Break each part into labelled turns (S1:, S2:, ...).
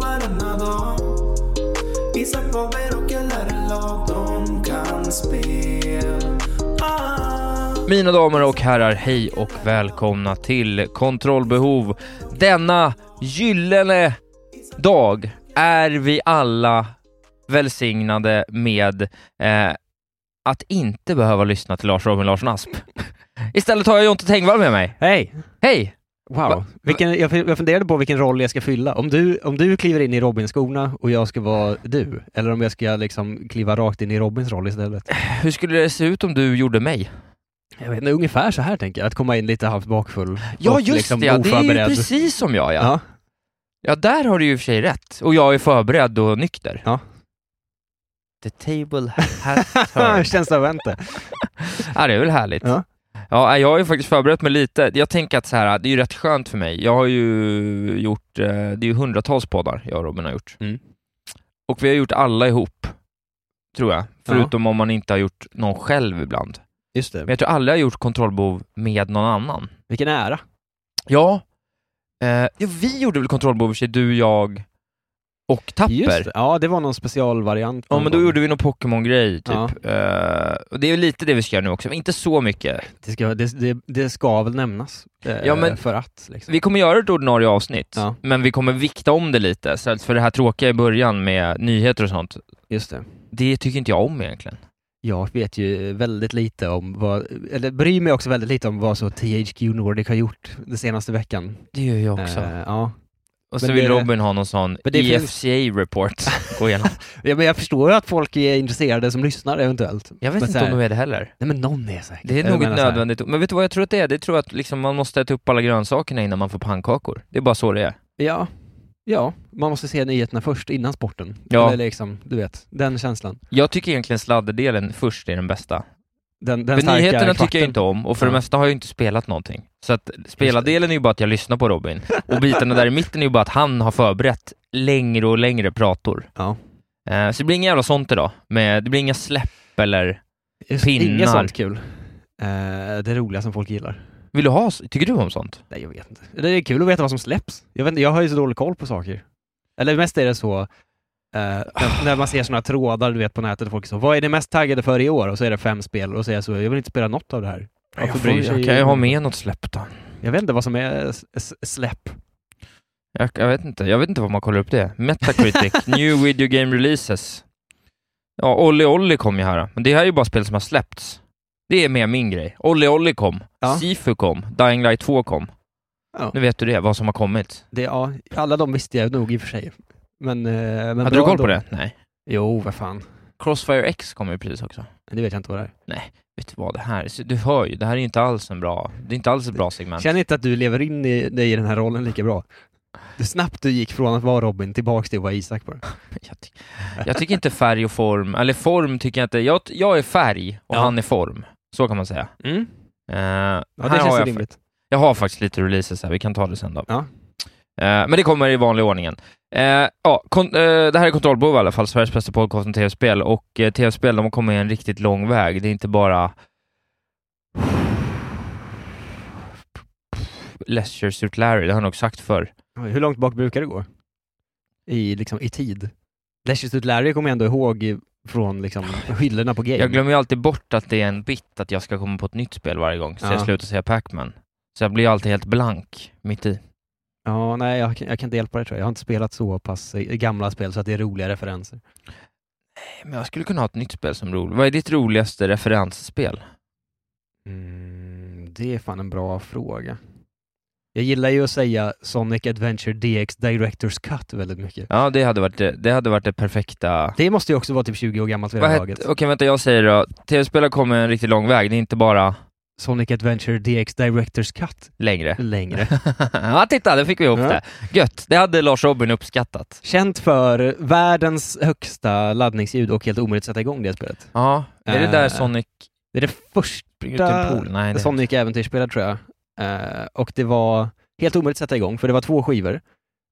S1: varenda dag. Isak Faber och Eller Ilan. De kan spel. Ah.
S2: Mina damer och herrar, hej och välkomna till Kontrollbehov. Denna gyllene dag är vi alla välsignade med eh, att inte behöva lyssna till Lars Robin Larsson Asp. Istället har jag Jonte Tengvall med mig.
S3: Hej!
S2: Hej!
S3: Wow. Vilken, jag, jag funderade på vilken roll jag ska fylla. Om du, om du kliver in i Robins skorna och jag ska vara du, eller om jag ska liksom kliva rakt in i Robins roll istället.
S2: Hur skulle det se ut om du gjorde mig?
S3: Jag vet inte, ungefär så här tänker jag. Att komma in lite halvt bakfull.
S2: Ja
S3: och
S2: just
S3: liksom
S2: det, ja. det är ju
S3: oförberedd.
S2: precis som jag ja. ja.
S3: Ja.
S2: där har du ju i och för sig rätt. Och jag är förberedd och nykter.
S3: Ja.
S2: The table has
S3: Ah,
S2: turned.
S3: Känns det vänta.
S2: ja, det är väl härligt.
S3: Ja.
S2: Ja, jag har ju faktiskt förberett mig lite. Jag tänker att så här, det är ju rätt skönt för mig. Jag har ju gjort, eh, det är ju hundratals poddar jag och Robin har gjort.
S3: Mm.
S2: Och vi har gjort alla ihop, tror jag.
S3: Ja.
S2: Förutom om man inte har gjort någon själv ibland.
S3: Just
S2: Men
S3: det.
S2: jag tror aldrig jag har gjort kontrollbehov med någon annan.
S3: Vilken ära.
S2: Ja. Eh, ja vi gjorde väl kontrollbehov i och för sig, du, jag och Tapper.
S3: Just det. Ja, det var någon specialvariant.
S2: Ja men då gjorde vi någon Pokémon-grej typ.
S3: Ja.
S2: Eh, och det är ju lite det vi ska göra nu också, men inte så mycket.
S3: Det ska, det, det, det ska väl nämnas. eh,
S2: Ja, men-
S3: För att. Liksom.
S2: Vi kommer göra ett ordinarie avsnitt,
S3: Ja.
S2: men vi kommer vikta om det lite. Så att för det här tråkiga i början med nyheter och sånt,
S3: Just det.
S2: det tycker inte jag om egentligen.
S3: Jag vet ju väldigt lite om vad, eller bryr mig också väldigt lite om vad så THQ Nordic har gjort den senaste veckan.
S2: Det gör jag
S3: Eh, ja.
S2: och så
S3: men
S2: vill
S3: det-
S2: Robin ha någon sån E
S3: Men det finns-
S2: EFCA-report gå igenom.
S3: ja, men jag förstår ju att folk är intresserade som lyssnar eventuellt.
S2: Jag vet
S3: Men så
S2: inte om
S3: här-
S2: de är det heller.
S3: Nej men någon är säkert.
S2: Det är
S3: Jag
S2: nog
S3: menar så här,
S2: nödvändigt. Men vet du vad jag tror att det är? Det tror jag att liksom man måste äta upp alla grönsakerna innan man får pannkakor. Det är bara så det är.
S3: Ja. Ja, man måste se nyheterna först innan sporten.
S2: Ja.
S3: Eller liksom, du vet, den känslan.
S2: Jag tycker egentligen sladderdelen först är den bästa.
S3: Den, den
S2: För
S3: starka
S2: nyheterna tycker
S3: kvarten.
S2: jag inte om och för det
S3: Ja.
S2: mesta har jag ju inte spelat någonting. Så att spelardelen är ju bara att jag lyssnar på Robin och bitarna där i mitten är ju bara att han har förberett längre och längre prator.
S3: Ja.
S2: Eh, så det blir inga jävla sånt idag. Med, det blir inga släpp eller...
S3: Just,
S2: pinnar.
S3: Inget sånt kul. Eh, det roliga som folk gillar.
S2: Vill du ha... s- Tycker du om sånt?
S3: Nej, jag vet inte. Det är kul att veta vad som släpps. Jag, vet inte, jag har ju så dålig koll på saker. Eller mest är det så, eh, när, när man ser sådana trådar du vet på nätet, folk är så ”Vad är ni mest taggade för i år?” och så är det fem spel och så är jag så ”Jag vill inte spela något av det här”. Varför
S2: jag,
S3: bryr sig-
S2: får, jag kan Alltså, ju ha med något släpp då.
S3: Jag vet inte vad som är s- s- släpp.
S2: Jag, jag vet inte. Jag vet inte vad man kollar upp det. Metacritic, New Video Game Releases. Ja, Olli Olli kom ju här. Men det här är ju bara spel som har släppts. Det är mer min grej. Olli Olli kom,
S3: Ja.
S2: Sifu kom, Dying Light 2 kom.
S3: Ja.
S2: Nu vet du det, vad som har kommit.
S3: Det, ja, alla de visste jag nog i och för sig. Men, eh, men bra
S2: Hade du koll
S3: ändå.
S2: på det? Nej.
S3: Jo, vad fan.
S2: Crossfire X kom ju precis också.
S3: Det vet jag inte vad det är.
S2: Vet du vad, det här, så du hör ju, det här är ju inte alls en bra, det är inte alls ett bra segment.
S3: Känner inte att du lever in i, dig i den här rollen lika bra. Det snabbt du gick från att vara Robin tillbaks till att vara Isak bara.
S2: Jag, ty- jag tycker inte färg och form, eller form tycker jag inte, jag, jag är färg och
S3: Ja.
S2: han är form. Så kan man säga.
S3: Mm.
S2: Eh,
S3: Ja,
S2: här
S3: det
S2: har
S3: känns
S2: jag
S3: rimligt.
S2: Jag har faktiskt lite releases här, vi kan ta det sen då.
S3: Ja.
S2: Eh, men det kommer i vanlig ordningen. Eh, ja, kon- eh, det här är Kontrollbov i alla fall, Sveriges bästa podcast om tv-spel. Och eh, tv-spel, de har kommit en riktigt lång väg. Det är inte bara... Leisure Suit Larry, det har han nog sagt för.
S1: Hur långt bak brukar det gå? I, liksom, i tid? Leisure Suit Larry kommer jag ändå ihåg i- från liksom, hyllorna på Game.
S2: Jag glömmer ju alltid bort att det är en bit att jag ska komma på ett nytt spel varje gång, så
S1: Ja.
S2: jag slutar säga Pac-Man. Så jag blir ju alltid helt blank mitt i.
S1: Ja, nej, jag, kan- jag kan inte hjälpa det tror jag. Jag har inte spelat så pass eh, gamla spel så att det är roliga referenser.
S2: Men jag skulle kunna ha ett nytt spel som roligt. Vad är ditt roligaste referensspel?
S1: Mm, det är fan en bra fråga. Jag gillar ju att säga Sonic Adventure DX Directors Cut väldigt mycket.
S2: Ja, det hade varit det, det, hade varit det perfekta.
S1: Det måste ju också vara typ 20 år gammalt vid det
S2: Vad
S1: här
S2: hette-
S1: laget.
S2: Okej, vänta, jag säger då. Tv-spel har kommit en riktigt lång väg, det är inte bara
S1: Sonic Adventure DX Directors Cut
S2: längre.
S1: längre.
S2: ja, titta, då fick vi ihop
S1: Ja.
S2: det. Gött, det hade Lars-Robin uppskattat.
S1: Känt för världens högsta laddningsljud och helt omöjligt att sätta igång det spelet.
S2: Ja, är det
S1: Eh,
S2: där Sonic
S1: Det är det första
S2: springer ut i en pool? Nej, det
S1: Sonic äventyrsspelade tror jag. Eh, och det var helt omöjligt att sätta igång, för det var två skivor.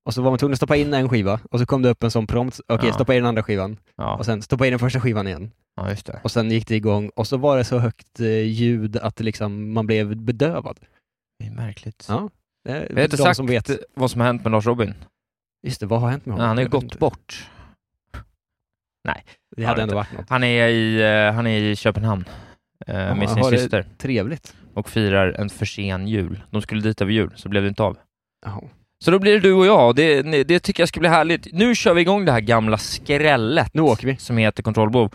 S1: Och så var man tvungen att stoppa in en skiva, och så kom det upp en sån prompt, okej
S2: Ja.
S1: stoppa in den andra skivan,
S2: ja.
S1: och sen stoppa in den första skivan igen.
S2: ja, just det.
S1: Och sen gick det igång, och så var det så högt eh, ljud att det liksom, man blev bedövad.
S2: Det är märkligt.
S1: Ja. Det är
S2: Vi har inte
S1: de
S2: sagt
S1: som vet.
S2: vad som har hänt med Lars-Robin.
S1: Just det, vad har hänt med
S2: Ja,
S1: honom?
S2: han har ju
S1: Jag vet
S2: gått
S1: inte.
S2: bort.
S1: Det
S2: Har
S1: hade
S2: han
S1: ändå varit något.
S2: Han är i, eh, han är i Köpenhamn eh, med sin
S1: har det-
S2: syster
S1: Trevligt.
S2: och firar en för sen jul. De skulle dit över jul, så blev det inte av.
S1: Jaha.
S2: Så då blir det du och jag och det, det tycker jag ska bli härligt. Nu kör vi igång det här gamla skrället
S1: Nu åker vi.
S2: som heter Kontrollbov.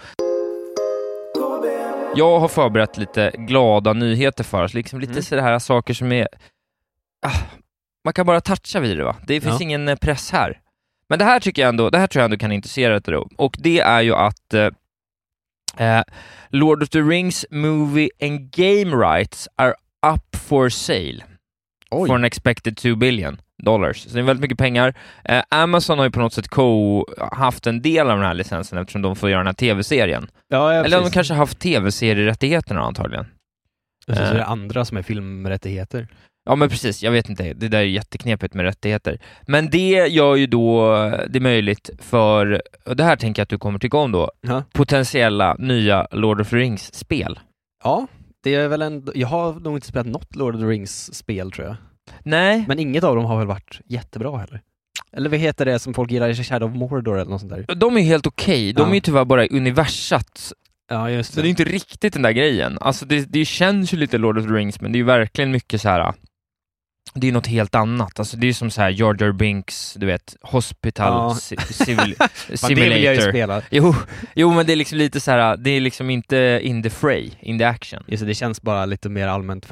S2: Jag har förberett lite glada nyheter för oss, liksom lite
S1: Mm.
S2: sådär här saker som är... Ah, man kan bara toucha vid det va? Det finns
S1: Ja.
S2: ingen eh, press här. Men det här tycker jag ändå, det här tror jag ändå kan intressera dig då. Och det är ju att eh, eh, Lord of the Rings Movie and Game Rights are up for sale
S1: Oj.
S2: for an expected 2 billion dollars. Så det är väldigt mycket pengar. Eh, Amazon har ju på något sätt co haft en del av den här licensen eftersom de får göra den här tv-serien.
S1: Ja, ja,
S2: Eller de
S1: precis.
S2: kanske har haft tv-serierättigheterna antagligen. Eh,
S1: Precis, så det är andra som är filmrättigheter.
S2: Ja men precis, jag vet inte, det där är jätteknepigt med rättigheter. Men det gör ju då det möjligt för, och det här tänker jag att du kommer tycka om då,
S1: Ja.
S2: potentiella nya Lord of the Rings-spel.
S1: Ja, det är väl en... Jag har nog inte spelat något Lord of the Rings-spel tror jag.
S2: Nej,
S1: Men inget av dem har väl varit jättebra heller? Eller vad heter det som folk gillar? Shadow of Mordor eller något sånt där?
S2: de är ju helt okej. De
S1: Ja.
S2: är ju tyvärr bara i universat
S1: Ja, just
S2: Så det är inte riktigt den där grejen. Alltså det, det känns ju lite Lord of the Rings, men det är ju verkligen mycket så här. äh, Det är något helt annat. Alltså det är som så här Jar Jar Binks, du vet, Hospital
S1: Ja.
S2: ci- civil,
S1: det vill jag ju
S2: Simulator.
S1: spela.
S2: Jo, jo, men det är liksom lite så här. det är liksom inte in the fray, in the action.
S1: Just det, det känns bara lite mer allmänt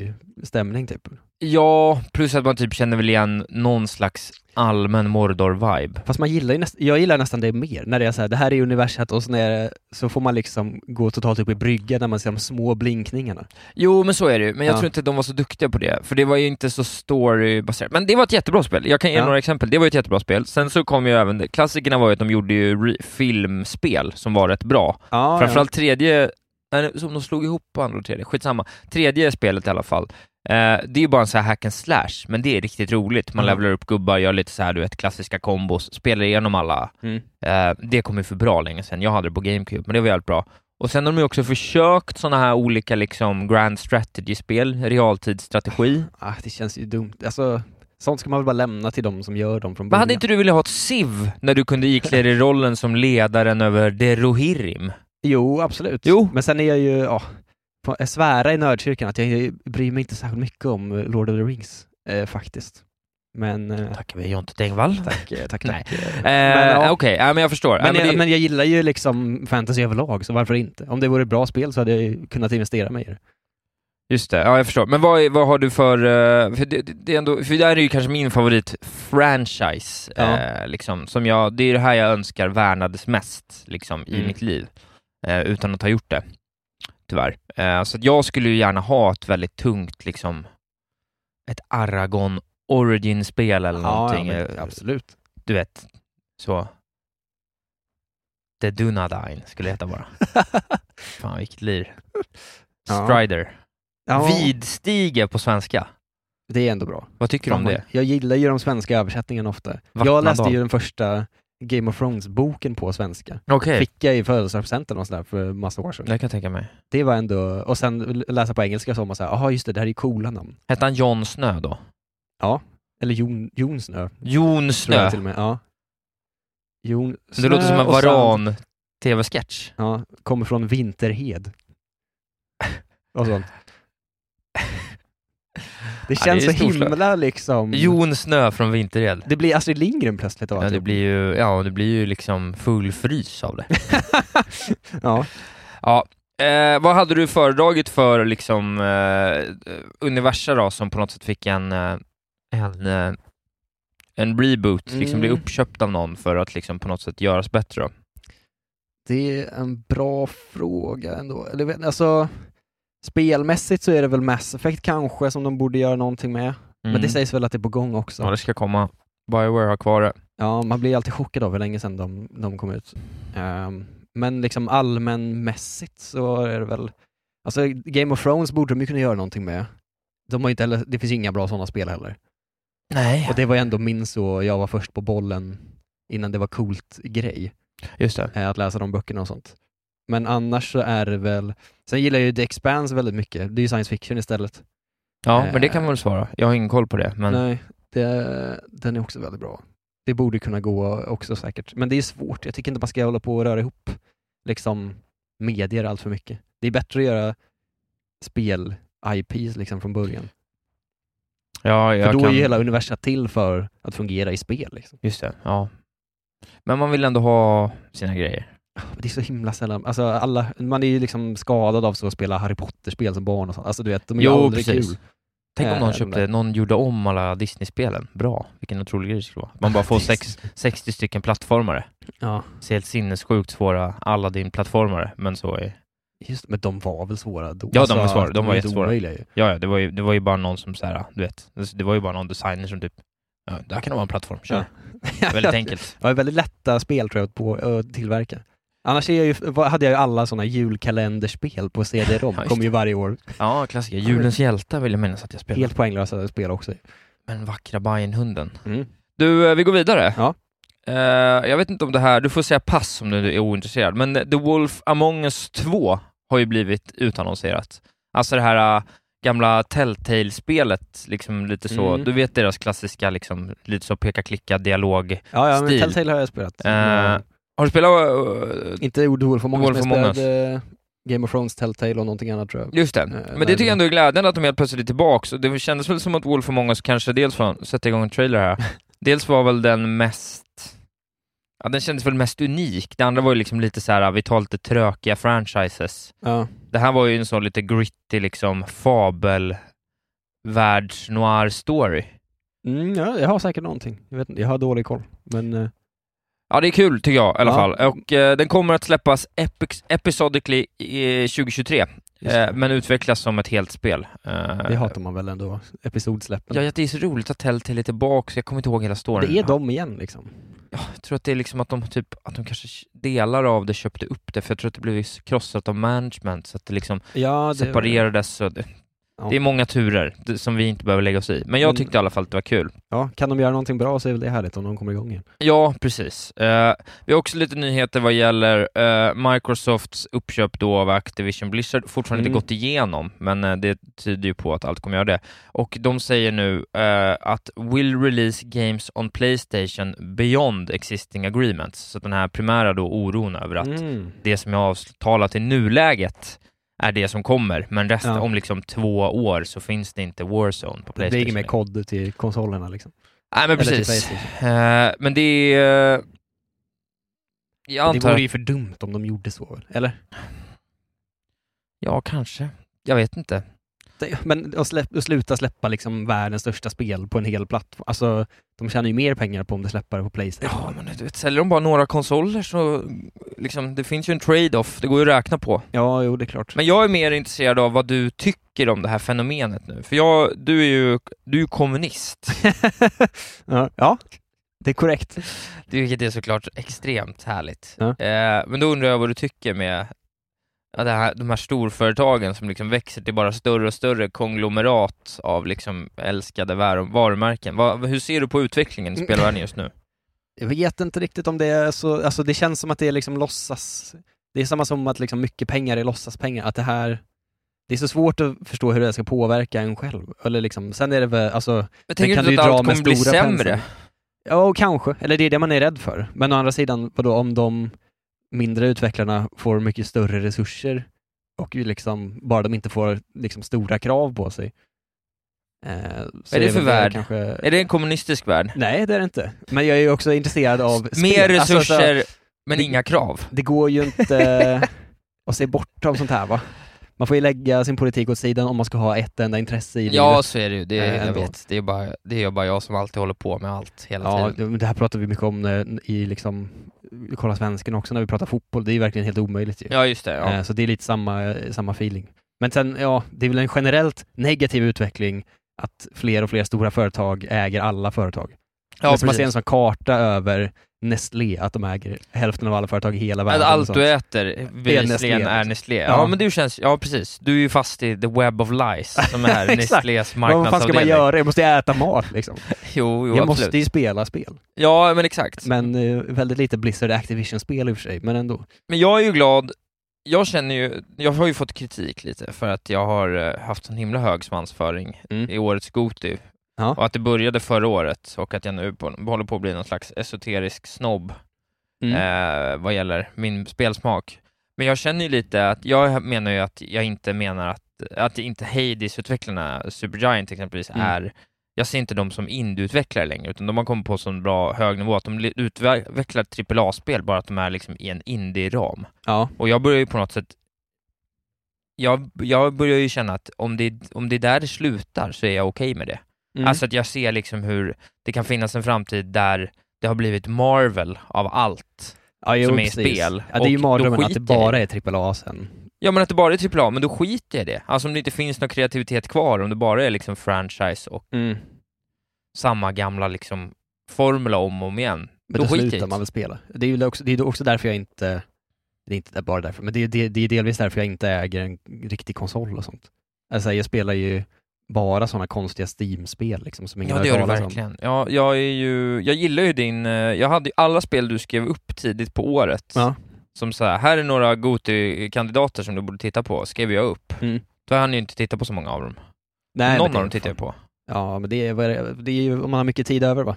S1: fantasy-stämning typ.
S2: Ja, plus att man typ känner väl igen någon slags allmän Mordor-vibe.
S1: Fast man gillar ju näst, jag gillar nästan det mer, när det är så här, det här är universat och så, när det, så får man liksom gå totalt upp i brygga när man ser de små blinkningarna.
S2: Jo, men så är det ju. Men jag
S1: Ja.
S2: tror inte att de var så duktiga på det, för det var ju inte så storybaserat. Men det var ett jättebra spel. Jag kan ge
S1: Ja.
S2: några exempel. Det var ju ett jättebra spel. Sen så kom ju även, klassikerna var ju att de gjorde ju re- filmspel som var rätt bra.
S1: Ja,
S2: Framförallt tredje, nej, som de slog ihop på andra och tredje, skitsamma. Tredje spelet i alla fall. Eh, det är ju bara en sån här hack and slash, men det är riktigt roligt. Man
S1: Mm.
S2: levlar upp gubbar, gör lite så här, du vet, klassiska kombos, spelar igenom alla.
S1: Mm.
S2: Eh, det kom ju för bra länge sedan. Jag hade det på GameCube, men det var jävligt bra. Och sen har de ju också försökt såna här olika liksom grand strategy-spel, realtidsstrategi.
S1: Ah, det känns ju dumt. Alltså, sånt ska man väl bara lämna till de som gör dem från
S2: Men
S1: början.
S2: hade inte du velat ha ett SIV när du kunde iklä dig rollen som ledaren över Derohirrim?
S1: Jo, absolut.
S2: Jo.
S1: Men sen är jag ju, ja, på, jag svära i nördkyrkan att jag bryr mig inte särskilt mycket om eh, Lord of the Rings, eh, faktiskt. Men... Eh,
S2: Tackar vi Jonte Tengvall.
S1: tack, eh, tack,
S2: Nej.
S1: tack. Eh,
S2: Eh,
S1: ja.
S2: Okej, ja, men jag förstår. Ja,
S1: Men, jag,
S2: det-
S1: men jag gillar ju liksom fantasy överlag, så varför inte? Om det vore ett bra spel så hade jag ju kunnat investera mig i det.
S2: Just det, ja jag förstår. Men vad, är- vad har du för... eh, För det, det- det är ändå, för det här är ju kanske min favorit-franchise, eh, liksom, som jag, det är det här jag önskar värnades mest liksom, i
S1: Mm.
S2: mitt liv, eh, utan att ha gjort det, tyvärr. Eh, så att jag skulle ju gärna ha ett väldigt tungt, liksom, ett Aragon Origin-spel eller någonting.
S1: men
S2: eh,
S1: absolut.
S2: Du vet, så. The Dunadine skulle det heta bara. Fan vilket lir.
S1: Ja.
S2: Strider.
S1: Ja,
S2: Vidstige på svenska.
S1: Det är ändå bra.
S2: Vad tycker du om det?
S1: Jag gillar ju de svenska översättningarna ofta. Jag
S2: Vattnadal.
S1: läste ju den första Game of Thrones-boken på svenska.
S2: Okej.
S1: Fick jag i födelsedagspresent eller något sånt där för massa år sedan.
S2: Det kan jag tänka mig.
S1: Det var ändå, och sen läsa på engelska så var man såhär, jaha just det, det här är ju coola namn.
S2: Hette han John Snö då?
S1: Ja. Eller Jon, Jon Snö.
S2: Jon
S1: Tror
S2: Snö.
S1: jag till och med. Ja. Jon
S2: Det låter som en
S1: och sen-
S2: varan-tv-sketch.
S1: Ja, kommer från Vinterhed. Och sånt. Det
S2: Ja, det är
S1: känns så
S2: storslaget.
S1: himla liksom...
S2: Jon Snö från Vinterhed.
S1: Det blir Astrid Lindgren plötsligt av
S2: Ja, det
S1: alltihop.
S2: blir ju, ja, det blir ju liksom full frys av det.
S1: ja.
S2: Ja. Eh, vad hade du föredragit för liksom, eh, Universa då, som på något sätt fick en, eh, en, eh, en reboot, liksom
S1: Mm.
S2: bli uppköpt av någon för att liksom, på något sätt göras bättre? Då?
S1: Det är en bra fråga ändå. Eller, vet- alltså, spelmässigt så är det väl Mass Effect kanske som de borde göra någonting med. Men det
S2: Mm.
S1: sägs väl att det är på gång också.
S2: Ja, det ska komma. Bioware har kvar det.
S1: Ja, man blir alltid chockad av hur länge sedan de, de kom ut. Ehm, men liksom allmänmässigt så är det väl... Alltså Game of Thrones borde de ju kunna göra någonting med. De har ju inte heller, det finns ju inga bra sådana spel heller.
S2: Nej.
S1: Och det var ju ändå min så, jag var först på bollen innan det var coolt grej,
S2: Just det.
S1: eh, att läsa de böckerna och sånt. Men annars så är det väl, sen gillar jag ju The Expanse väldigt mycket, det är ju science fiction istället.
S2: Ja, men det
S1: Eh.
S2: kan man väl svara. Jag har ingen koll på det. Men...
S1: Nej, eh, det, den är också väldigt bra. Det borde kunna gå också säkert, men det är svårt. Jag tycker inte man ska hålla på och röra ihop liksom medier allt för mycket. Det är bättre att göra spel-IPs liksom från början.
S2: Ja, jag
S1: för då
S2: kan...
S1: är ju hela universum till för att fungera i spel. Liksom.
S2: Just det, ja. Men man vill ändå ha sina grejer.
S1: Men Det är så himla sällan, alltså alla, man är ju liksom skadad av så att spela Harry Potter-spel som barn och sånt. Alltså du vet, de är ju aldrig kul.
S2: Tänk om
S1: Eh,
S2: någon
S1: de
S2: köpte,
S1: där.
S2: någon gjorde om alla Disney-spelen. Bra, vilken otrolig grej det skulle vara. Man bara får sex, 60 stycken plattformare.
S1: Ja,
S2: Så helt sinnessjukt svåra Aladdin-plattformare, men så är...
S1: just men de var väl svåra då?
S2: Ja, de var svåra. De var
S1: inte
S2: jättesvåra.
S1: omöjliga ju.
S2: Ja, ja, det var ju, det var ju bara någon som så här, du vet, det var ju bara någon designer som typ, ja, där kan det vara en plattform, kör. Väldigt enkelt.
S1: Ja, det är väldigt lätta spel tror jag på att tillverka. Annars är jag ju, var- hade jag ju alla sådana julkalenderspel på CD-ROM,
S2: Ja, just
S1: kom ju varje år.
S2: Ja, klassiker. Julens hjältar vill jag minnas att jag spelade.
S1: Helt poänglösa spel också. Mm.
S2: Men vackra Bajenhunden. Du, eh, vi går vidare.
S1: Ja.
S2: Eh, jag vet inte om det här, du får säga pass om du är ointresserad, men The Wolf Among Us 2 har ju blivit utannonserat. Alltså det här eh, gamla Telltale-spelet, liksom lite så,
S1: Mm.
S2: du vet deras klassiska liksom, lite så peka-klicka dialog.
S1: Ja, ja men
S2: Stil.
S1: Telltale har jag spelat.
S2: Eh,
S1: Mm.
S2: Har du spelat... eh,
S1: Inte Ord Wolf Among Us,
S2: Wolf
S1: men
S2: Among
S1: jag
S2: Us.
S1: spelade eh, Game of Thrones, Telltale och någonting annat tror jag.
S2: Just det.
S1: nej,
S2: Men det tycker
S1: Eh, det-
S2: jag ändå är glädjande att de helt plötsligt är tillbaka. Och det kändes väl som att Wolf Among Us kanske dels från, sätta igång en trailer här, dels var väl den mest Ja, den kändes väl mest unik. Det andra var ju liksom lite så här, vi tar lite trökiga franchises.
S1: Ja.
S2: Det här var ju en sån lite gritty liksom fabel världs noir story.
S1: Mm, ja, jag har säkert någonting. Jag, vet, inte, jag har dålig koll. Men eh,
S2: Ja, det är kul tycker jag i alla
S1: Ja.
S2: fall. Och eh, den kommer att släppas epic- episodically i eh, 2023,
S1: just,
S2: eh, men utvecklas som ett helt spel. Eh,
S1: det hatar man väl ändå, episodsläppen.
S2: Ja, jag- det är så roligt att Telltale är tillbaka, så jag kommer inte ihåg hela storyn.
S1: det är de igen liksom.
S2: Jag tror att det är liksom att de typ, att de kanske delar av det köpte upp det, för jag tror att det blev krossat av management, så att det liksom
S1: Ja, det,
S2: separerades. Så det,
S1: Ja.
S2: det är många turer det, som vi inte behöver lägga oss i. Men jag
S1: Men-
S2: tyckte i alla fall att det var kul.
S1: ja, kan de göra någonting bra så är väl det härligt om de kommer igång igen.
S2: Ja, precis. Eh, vi har också lite nyheter vad gäller eh, Microsofts uppköp då av Activision Blizzard. Fortfarande
S1: Mm.
S2: inte gått igenom, men eh, det tyder ju på att allt kommer göra det. Och de säger nu eh, att will release games on Playstation beyond existing agreements. Så den här primära då oron över att
S1: Mm.
S2: det som jag har avtalat i nuläget är det som kommer, men resten,
S1: Ja.
S2: om liksom två år så finns det inte Warzone på
S1: Det blir
S2: Playstation.
S1: inget mer kod till konsolerna liksom.
S2: Nej men
S1: Eller till
S2: precis.
S1: Playstation.
S2: Eh, men det är... eh, jag
S1: Det
S2: antar...
S1: vore ju för dumt om de gjorde så, eller?
S2: Ja, kanske. Jag vet inte.
S1: Det- Men att, släpp, att sluta släppa liksom världens största spel på en hel plattform. Alltså, de tjänar ju mer pengar på om de släpper det på Playstation.
S2: Ja, men du vet, säljer de bara några konsoler så liksom, det finns ju en trade-off. Det går ju att räkna på.
S1: Ja, jo, det är klart.
S2: Men jag är mer intresserad av vad du tycker om det här fenomenet nu. För jag, du är ju du är ju kommunist,
S1: ja, ja, det är korrekt.
S2: Det- vilket är såklart extremt härligt.
S1: Ja.
S2: Eh, men då undrar jag vad du tycker med ja, det här, de här storföretagen som liksom växer till bara större och större konglomerat av liksom älskade var- varumärken. Vad- hur ser du på utvecklingen i spelvärlden just nu?
S1: Jag vet inte riktigt om det är så, alltså det känns som att det är liksom låtsas. Det är samma som att liksom mycket pengar är låtsaspengar, att det här det är så svårt att förstå hur det ska påverka en själv. Eller liksom, sen är det väl, alltså...
S2: Men
S1: den
S2: tänker
S1: kan
S2: du
S1: ju
S2: inte att
S1: dra
S2: allt
S1: med
S2: kommer bli
S1: stora
S2: sämre?
S1: penslar. Ja, och kanske. Eller det är det man är rädd för. Men å andra sidan, vadå, om de mindre utvecklarna får mycket större resurser och ju liksom, bara de inte får liksom stora krav på sig. Eh, så
S2: Vad är det för
S1: väl
S2: värld?
S1: Kanske...
S2: Är det en kommunistisk värld?
S1: Nej, det är det inte. Men jag är ju också intresserad av spel.
S2: Mer
S1: Alltså,
S2: resurser,
S1: så-
S2: men
S1: det-
S2: inga krav.
S1: det går ju inte att se bort av sånt här va? Man får ju lägga sin politik åt sidan om man ska ha ett enda intresse i
S2: Ja,
S1: livet.
S2: så är det ju. Det,
S1: Eh,
S2: jag
S1: ändå.
S2: vet. Det är, bara, det är bara jag som alltid håller på med allt hela
S1: Ja,
S2: tiden.
S1: det- men det här pratar vi mycket om eh, i liksom, kolla svensken också när vi pratar fotboll, det är ju verkligen helt omöjligt ju.
S2: Ja, just det. Ja.
S1: Eh, Så det är lite samma, eh, samma feeling. Men sen, ja, det är väl en generellt negativ utveckling att fler och fler stora företag äger alla företag.
S2: Ja,
S1: Men som man
S2: precis.
S1: ser en sån karta över Nestlé, att de äger hälften av alla företag i hela världen.
S2: Att
S1: och
S2: allt
S1: sånt.
S2: du äter bevisligen
S1: Nestlé,
S2: är
S1: liksom.
S2: Nestlé. Ja.
S1: Ja.
S2: men du känns, ja precis. Du är ju fast i the web of lies som är
S1: Exakt.
S2: Nestlés
S1: Vad fan ska man
S2: marknadsavdelning.
S1: göra? Jag måste äta mat liksom.
S2: Jo, jo
S1: jag
S2: absolut.
S1: måste ju spela spel.
S2: Ja, men exakt.
S1: Men eh, väldigt lite Blizzard Activision-spel i och för sig, men ändå.
S2: Men jag är ju glad, jag känner ju, jag har ju fått kritik lite för att jag har eh, haft en himla hög svansföring
S1: Mm.
S2: i årets Goti.
S1: Ja.
S2: Och att det började förra året och att jag nu på, håller på att bli någon slags esoterisk snobb
S1: Mm.
S2: eh, vad gäller min spelsmak. Men jag känner ju lite att, jag menar ju att jag inte menar att, att inte Hades-utvecklarna, Supergiant exempelvis,
S1: Mm.
S2: är jag ser inte dem som indieutvecklare längre, utan de har kommit på sån bra hög nivå att de li- utvecklar AAA-spel, bara att de är liksom i en indie-ram.
S1: Ja.
S2: Och jag börjar ju på något sätt jag, jag börjar ju känna att om det, om det är där det slutar så är jag okej med det.
S1: Mm.
S2: Alltså att jag ser liksom hur det kan finnas en framtid där det har blivit Marvel av allt.
S1: ja, jo,
S2: som är i
S1: precis.
S2: spel.
S1: Ja, det är ju
S2: Och då
S1: mardrömmen att
S2: skiter
S1: det
S2: jag
S1: bara är AAA sen.
S2: Ja men att det bara är AAA, men då skiter jag i det. Alltså om det inte finns någon kreativitet kvar, om det bara är liksom franchise och
S1: Mm.
S2: samma gamla liksom formula om och om igen. då
S1: Men då,
S2: skiter
S1: slutar
S2: jag
S1: man
S2: i det.
S1: väl spela. Det är ju också, det är också därför jag inte, det är inte bara därför, men det är, det, det är delvis därför jag inte äger en riktig konsol och sånt. Alltså jag spelar ju bara sådana konstiga Steam-spel liksom, som ingen
S2: Ja
S1: har
S2: det
S1: hört
S2: gör du
S1: talas om.
S2: verkligen. Ja, jag, är ju, jag gillar ju din, eh, jag hade ju alla spel du skrev upp tidigt på året.
S1: Ja.
S2: Som så här, här är några Goti-kandidater som du borde titta på, skrev jag upp.
S1: Mm.
S2: Då hann jag ju inte titta på så många av dem.
S1: Nej, men
S2: Någon
S1: det
S2: av
S1: är
S2: dem
S1: fan-
S2: tittar jag på.
S1: Ja, men det är, vad är det- det är ju om man har mycket tid över va?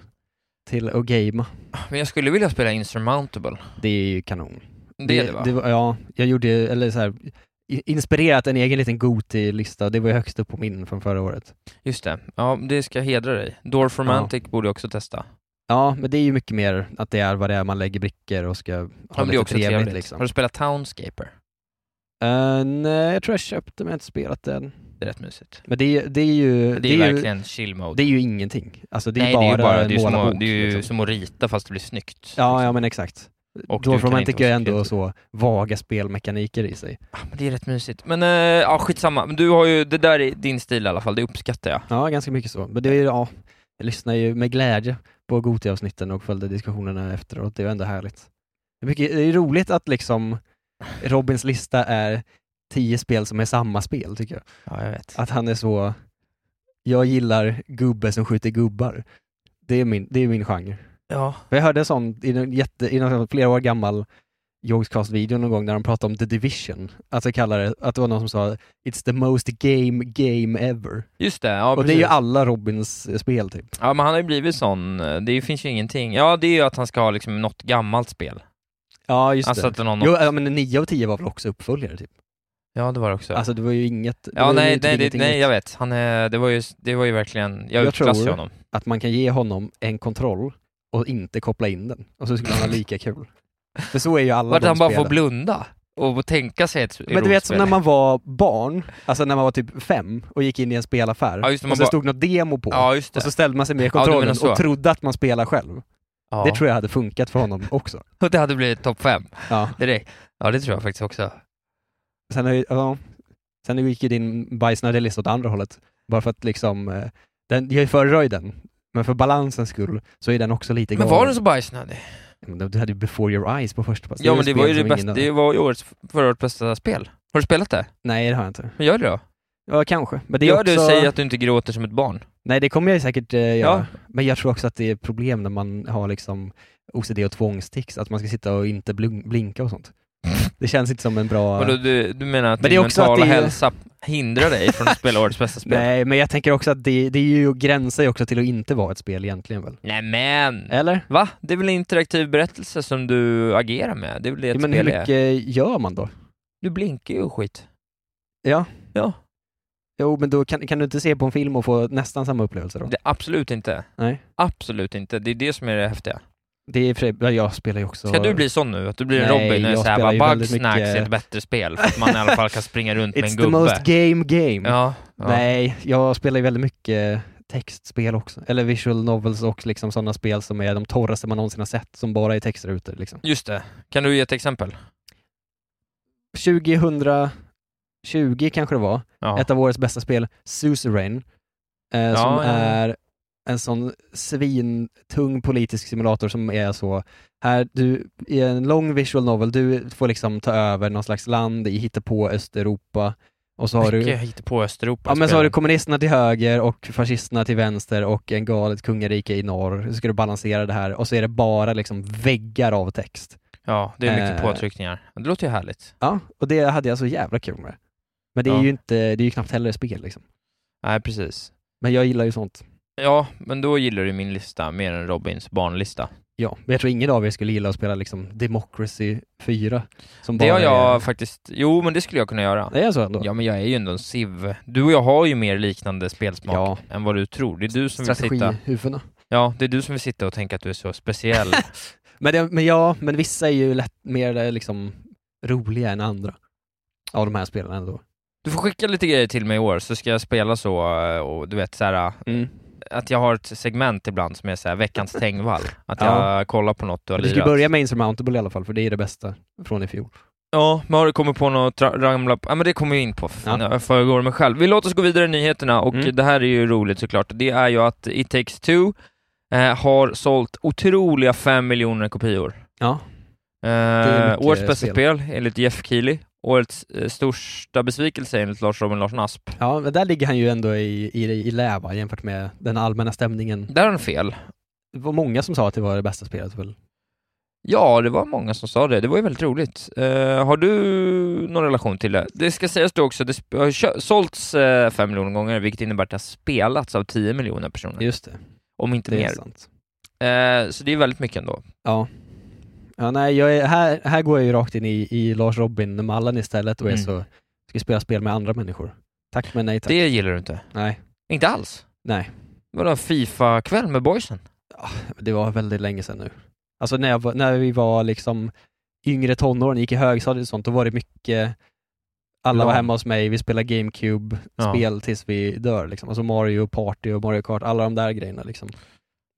S1: Till att gamea.
S2: Men jag skulle vilja spela Insurmountable.
S1: Det är ju kanon.
S2: Det, är det va?
S1: var- ja, jag gjorde, eller så här, i- inspirerat en egen liten Goti-lista, det var ju högst upp på min från förra året.
S2: Just det. Ja, det ska hedra dig. Door for
S1: Ja.
S2: Romantic borde jag också testa.
S1: Ja, men det är ju mycket mer att det är vad det är, man lägger brickor och ska ha
S2: Ja, men det är
S1: lite
S2: också trevligt.
S1: trevligt, liksom.
S2: Har du spelat Townscaper?
S1: Eh, nej, jag tror jag köpte men jag har inte spelat den.
S2: Det är rätt mysigt.
S1: Men det är, ju- Eh, det är ju...
S2: Det, är ju
S1: ju-
S2: verkligen chill
S1: Det
S2: mode.
S1: är ju ingenting. Alltså det är
S2: Nej,
S1: bara,
S2: det är ju bara det är ju som,
S1: måla
S2: att,
S1: bok,
S2: det är ju
S1: liksom.
S2: som att rita fast det blir snyggt. liksom.
S1: Ja, ja men exakt.
S2: Och
S1: Och
S2: du
S1: Dwarf
S2: kan
S1: Romantic
S2: inte
S1: är ju
S2: vara
S1: ändå
S2: kreativ.
S1: så vaga spelmekaniker i sig.
S2: Ja, men det är rätt mysigt. Men äh, ja, skitsamma. Men du har ju, det där är din stil i alla fall, det uppskattar jag.
S1: Ja, ganska mycket så. Men det är ju, ja, jag lyssnar ju med glädje på Gothia-avsnitten och följde diskussionerna efteråt. Det är ju ändå härligt. Det är, mycket, det är ju roligt att liksom Robins lista är tio spel som är samma spel, tycker jag.
S2: Ja, jag vet.
S1: Att han är så, jag gillar gubbe som skjuter gubbar. Det är min, det är min genre.
S2: Ja.
S1: För jag hörde sånt i en jätte, i någon flera år gammal Jogscast-video någon gång när de pratade om The Division. Att, jag kallar det, att det var någon som sa “It's the most game game ever”.
S2: Just det, ja
S1: och det är ju
S2: precis.
S1: alla Robins eh, spel typ.
S2: Ja men han har ju blivit sån, eh, det finns ju ingenting. Ja det är ju att han ska ha liksom något gammalt spel.
S1: Ja, just
S2: alltså
S1: det.
S2: att någon...
S1: Jo, ja, men 9 av 10 var väl också uppföljare typ?
S2: Ja det var det också.
S1: Alltså det var ju inget... det
S2: ja
S1: var ju
S2: nej,
S1: typ
S2: nej, det,
S1: ingenting
S2: nej
S1: nytt.
S2: jag vet. Han är, det, var ju, det var ju verkligen, jag,
S1: Jag
S2: utklassar ju
S1: tror-
S2: honom.
S1: Att man kan ge honom en kontroll och inte koppla in den. Och så skulle han ha lika kul. För så är ju alla
S2: Vart
S1: de
S2: han bara
S1: spelen.
S2: får blunda och tänka sig ett
S1: Men du vet som
S2: rollspel.
S1: när man var barn, alltså när man var typ fem och gick in i en spelaffär
S2: Ja, just det, man
S1: och så
S2: bara-
S1: stod något demo på
S2: Ja just det.
S1: och så ställde man sig med
S2: Ja, du
S1: kontrollen
S2: menar så.
S1: och trodde att man spelar själv.
S2: ja.
S1: Det tror jag hade funkat för honom också.
S2: Och det hade blivit topp fem
S1: Ja.
S2: direkt. Ja det tror jag faktiskt också.
S1: Sen, har ju- ja. Sen gick ju din bajsnödiga lista åt andra hållet. Bara för att liksom, eh, den, jag föredrar den, men för balansens skull så är den också lite
S2: Men var den så bajsnödig?
S1: galen. Du hade ju Before Your Eyes på första plats.
S2: Ja
S1: är
S2: men
S1: ju
S2: det
S1: ett
S2: var ju
S1: spel
S2: det
S1: som
S2: bästa,
S1: ingen-
S2: det var ju årets, förra årets bästa spel. Har du spelat det?
S1: Nej, det har jag inte.
S2: Men Gör det då.
S1: Ja, kanske. Men det är
S2: Gör
S1: också...
S2: det och säg att du inte gråter som ett barn.
S1: Nej, det kommer jag säkert eh, göra.
S2: Ja.
S1: Men jag tror också att det är problem när man har liksom OCD och tvångstics, att man ska sitta och inte blun- blinka och sånt. Det känns inte som en bra...
S2: Vadå, du, du menar att
S1: Men det
S2: din
S1: är också att
S2: mentala
S1: det är-
S2: hälsa hindrar dig från att spela årets bästa spel?
S1: Nej, men jag tänker också att det, det är ju gränsar ju också till att inte vara ett spel egentligen väl?
S2: Nej men!
S1: Eller?
S2: Va? Det är väl en interaktiv berättelse som du agerar med? Det är väl det ett
S1: Ja, men hur
S2: spel är?
S1: mycket gör man då?
S2: Du blinkar ju och skit.
S1: Ja.
S2: Ja.
S1: Jo, men då kan, kan du inte se på en film och få nästan samma upplevelse då?
S2: Det, absolut inte.
S1: Nej.
S2: Absolut inte. Det är det som är det häftiga.
S1: Det är i och för sig- ja, jag spelar ju också...
S2: Ska du bli sån nu? Att du blir en
S1: Nej,
S2: Robin och är
S1: jag
S2: såhär
S1: spelar ju
S2: bara
S1: väldigt
S2: Bugsnax
S1: mycket-
S2: är ett bättre spel för att man i alla fall kan springa runt med en
S1: It's the
S2: gubbe.
S1: most game game!
S2: Ja, ja.
S1: Nej, jag spelar ju väldigt mycket textspel också. Eller visual novels och liksom sådana spel som är de torraste man någonsin har sett, som bara är textrutor liksom.
S2: Just det. Kan du ge ett exempel?
S1: 2020 kanske det var,
S2: Ja.
S1: ett av årets bästa spel, Suzerain, eh, som
S2: ja, ja.
S1: är en sån svintung politisk simulator som är så, här, du, i en lång visual novel, du får liksom ta över någon slags land i på Östeuropa och så har du
S2: Mycket hittepå Östeuropa.
S1: Ja men så har
S2: spelen.
S1: du kommunisterna till höger och fascisterna till vänster och en galet kungarike i norr. Så ska du balansera det här och så är det bara liksom väggar av text.
S2: Ja, det är mycket
S1: Eh.
S2: påtryckningar. Det låter ju härligt.
S1: Ja, och det hade jag så jävla kul med. Men det är
S2: Ja.
S1: ju inte, det är ju knappt heller ett spel liksom.
S2: Nej, precis.
S1: Men jag gillar ju sånt.
S2: Ja, men då gillar du min lista mer än Robins barnlista.
S1: Ja, men jag tror ingen av er skulle gilla att spela liksom Democracy 4. Som
S2: Det har jag
S1: Är...
S2: faktiskt... Jo, men det skulle jag kunna göra.
S1: Det är så ändå?
S2: Ja, men jag är ju ändå en siv. Du och jag har ju mer liknande spelsmak
S1: Ja.
S2: än vad du tror. Det är du som vill sitta...
S1: Strategihuvudena.
S2: Ja, det är du som vill sitta och tänka att du är så speciell.
S1: Men, det, men ja, men vissa är ju lätt, mer eh, liksom roliga än andra. Av de här spelen ändå.
S2: du får skicka lite grejer till mig i år så ska jag spela så, eh, och du vet så här,
S1: Mm.
S2: att jag har ett segment ibland som är så här, veckans Tengvall. Att
S1: Ja.
S2: jag kollar på något du har
S1: Du ska
S2: lirat.
S1: börja med Insurmountable i alla fall, för det är det bästa från i fjol.
S2: Ja, men har du kommit på något tra- ramla på? Ja men det kommer vi in på, för fan,
S1: Ja.
S2: jag föregår mig själv. Vi låter oss gå vidare i nyheterna och
S1: Mm.
S2: det här är ju roligt såklart. Det är ju att It takes two eh, har sålt otroliga 5 miljoner kopior.
S1: Ja. är
S2: Eh,
S1: mycket
S2: årets bästa
S1: spel.
S2: spel enligt Jeff Keely. Årets eh, största besvikelse enligt Lars Robin Larsson Asp.
S1: Ja, men där ligger han ju ändå i, i, i lä va, jämfört med den allmänna stämningen.
S2: Där har han fel.
S1: Mm. Det var många som sa att det var det bästa spelet väl?
S2: Ja, det var många som sa det. Det var ju väldigt roligt. Eh, har du någon relation till det? Det ska sägas då också, det sp- har kö- sålts 5 miljoner gånger, vilket innebär att det har spelats av 10 miljoner personer.
S1: Just det,
S2: Om inte
S1: det
S2: mer.
S1: är sant.
S2: Eh, så det är väldigt mycket ändå.
S1: Ja. Ja, nej, jag är, här, här går jag ju rakt in i, i Lars Robin-mallen istället och är
S2: Mm.
S1: så, ska spela spel med andra människor. Tack men nej tack.
S2: Det gillar du inte?
S1: Nej,
S2: Inte alls?
S1: nej.
S2: Vadå, en Fifa-kväll med boysen?
S1: Det var väldigt länge sedan nu. Alltså när, jag, var- när vi var liksom yngre tonåren, gick i högstadiet och sånt, då var det mycket alla var
S2: Lång.
S1: hemma hos mig, vi spelade
S2: Ja.
S1: GameCube-spel tills vi dör liksom. Alltså Mario Party och Mario Kart, alla de där grejerna liksom.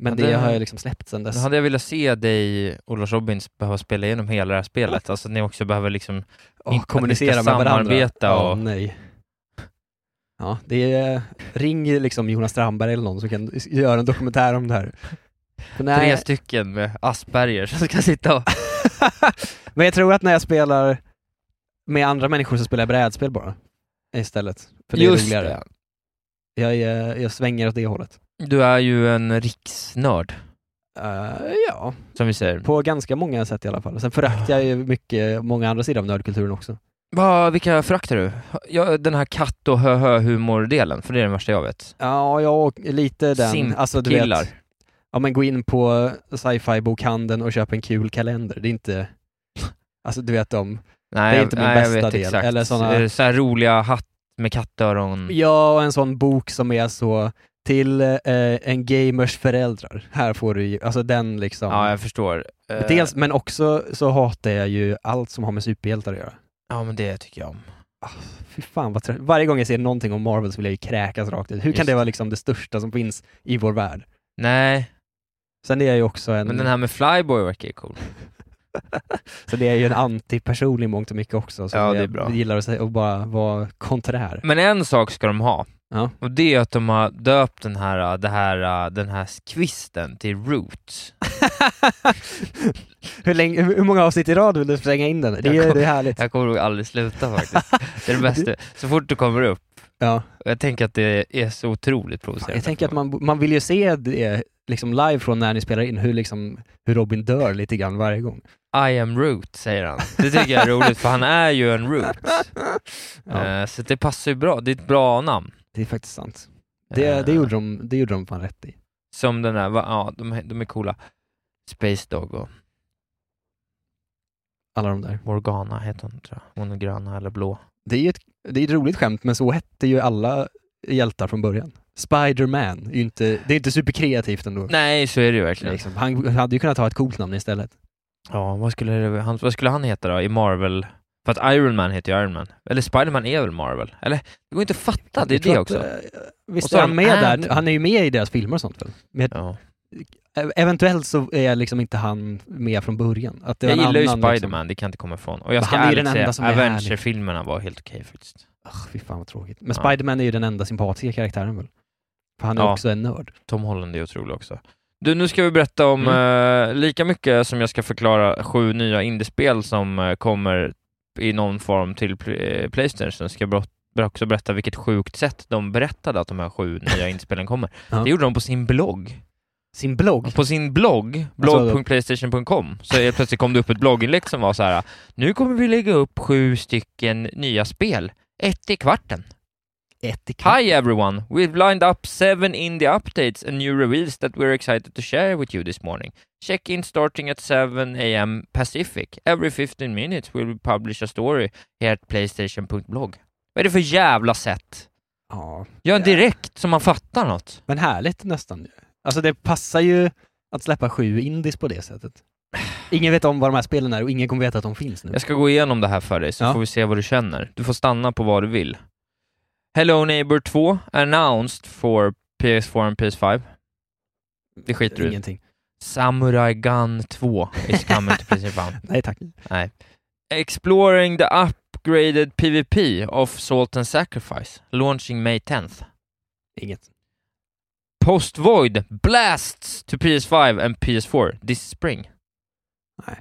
S1: Men
S2: Ja,
S1: det,
S2: det-
S1: har jag liksom släppt sedan
S2: Då
S1: dess.
S2: hade jag velat se dig och Lars Robin behöva spela igenom hela det här spelet. Alltså att ni också behöver liksom...
S1: Åh,
S2: inte-
S1: kommunicera
S2: att
S1: med
S2: ni ska
S1: varandra.
S2: samarbeta
S1: Ja,
S2: och-
S1: nej. Ja, det är... Ring liksom Jonas Strandberg eller någon som kan göra en dokumentär om det här. För när-
S2: Tre stycken med Asperger som ska sitta och...
S1: Men jag tror att när jag spelar med andra människor så spelar jag brädspel bara istället. För det är roligare. Jag, är- jag svänger åt det hållet.
S2: Du är ju en riksnörd,
S1: Eh, ja,
S2: som vi säger.
S1: på ganska många sätt i alla fall. Sen föraktar jag ju mycket, många andra sidor av nördkulturen också.
S2: Va, vilka föraktar du? Ja, den här katt och hö hö humordelen, för det är den värsta jag vet.
S1: Ja, jag och lite den.
S2: Simp-
S1: alltså, du
S2: killar.
S1: Vet, ja, men gå in på sci-fi-bokhandeln och köp en kul kalender. Det är inte... Alltså du vet om...
S2: Nej,
S1: Det är
S2: jag-
S1: inte min
S2: nej, jag
S1: bästa
S2: vet
S1: del.
S2: Exakt.
S1: Eller såna-
S2: Eh, Så här roliga hatt med kattöron.
S1: Ja, och en sån bok som är så till eh, en gamers föräldrar. Här får du ju, alltså den liksom.
S2: Ja, jag förstår. Eh,
S1: Dels, men också så hatar jag ju allt som har med superhjältar att göra.
S2: Ja, men det tycker jag om.
S1: Ah, Fy fan vad trött. Varje gång jag ser någonting om Marvel så vill jag ju kräkas rakt ut. Hur kan
S2: Just
S1: det
S2: det.
S1: vara liksom det största som finns i vår värld?
S2: Nej,
S1: Sen är jag ju också en,
S2: men den här med Flyboy verkar ju cool.
S1: så det är ju en antiperson i mångt och mycket också. Så
S2: Ja,
S1: jag
S2: det är bra.
S1: gillar att, säga, att bara vara konträr.
S2: Men en sak ska de ha,
S1: Ja.
S2: och det är att de har döpt den här, äh, det här, äh, den här kvisten till Roots.
S1: hur, länge, hur många avsnitt i rad vill du slänga in den? Det är,
S2: Jag kom-
S1: det är härligt.
S2: Jag kommer nog aldrig sluta faktiskt. Det är det bästa. Så fort du kommer upp
S1: Ja.
S2: Jag tänker att det är så otroligt provocerande.
S1: Jag tänker att man, man vill ju se det liksom live från när ni spelar in, hur, liksom, hur Robin dör lite grann varje gång.
S2: I am root, säger han. Det tycker jag är roligt, för han är ju en root. Eh, Så det passar ju bra, det är ett bra namn.
S1: Det är faktiskt sant. Det,
S2: Eh,
S1: det, gjorde, de, det gjorde de fan rätt i.
S2: Som den där, va- ja de, de är coola. Space Dog och
S1: Alla de där.
S2: Morgana heter hon tror jag. Hon är gröna eller blå.
S1: Det är ju ett, det är ett roligt skämt, men så hette ju alla hjältar från början. Spider-Man, är ju inte, det är inte superkreativt ändå.
S2: Nej, så är det ju verkligen.
S1: Liksom. Han hade ju kunnat ha ett coolt namn istället.
S2: Ja, vad skulle, det- han, vad skulle han heta då i Marvel? För att Iron Man heter ju Iron Man. Eller Spiderman är väl Marvel? Eller? Det går inte att fatta, det är
S1: Jag tror
S2: det
S1: att,
S2: också.
S1: eh, Visst
S2: Och så
S1: är
S2: har
S1: han
S2: de
S1: med
S2: Ant-Man.
S1: där? Han är ju med i deras filmer och sånt väl?
S2: Ja.
S1: Ev- Eventuellt så är liksom inte han med från början. Att det var
S2: Jag
S1: en
S2: gillar ju
S1: annan,
S2: Spiderman,
S1: Liksom.
S2: det kan jag inte komma ifrån. Och jag
S1: Men
S2: ska
S1: han är ju den
S2: ärligt säga,
S1: enda som är härlig.
S2: Avenger-filmerna var helt okej faktiskt.
S1: Ugh, fy fan vad tråkigt. Men
S2: Ja.
S1: Spiderman är ju den enda sympatiska karaktären väl? För han är
S2: Ja.
S1: också en nörd.
S2: Tom Holland är otrolig också. Du, nu ska vi berätta om
S1: Mm.
S2: eh, lika mycket som jag ska förklara sju nya indiespel som eh, kommer i någon form till pl- eh, Playstation, ska jag brott- ber- också berätta vilket sjukt sätt de berättade att de här sju nya indiespelen kommer.
S1: Ja.
S2: Det gjorde de på sin blogg.
S1: Sin blogg?
S2: På sin blogg, blogg.playstation.com, så helt plötsligt kom det upp ett blogginlägg som var så här. nu kommer vi lägga upp sju stycken nya spel, ett i kvarten.
S1: Ett i
S2: Hi everyone! We've lined up seven indie updates and new reveals that we're excited to share with you this morning. Check in starting at 7 a.m. Pacific. Every 15 minutes will we publish a story here at Playstation.blog. Vad är det för jävla sätt?
S1: Ja.
S2: Gör direkt så man fattar något.
S1: Men härligt nästan. ju. Alltså det passar ju att släppa sju indies på det sättet. Ingen vet om vad de här spelen är och ingen kommer veta att de finns nu.
S2: Jag ska gå igenom det här för dig så
S1: Ja.
S2: får vi se vad du känner. Du får stanna på vad du vill. Hello Neighbor 2 announced for PS4 and PS5. Det skiter du i.
S1: Ingenting.
S2: Samurai Gun 2 is coming to PS5.
S1: Nej tack.
S2: Nej. Exploring the upgraded PVP of Salt and Sacrifice, launching May 10th.
S1: Inget.
S2: Post Void blasts to PS5 and PS4 this spring.
S1: Nej.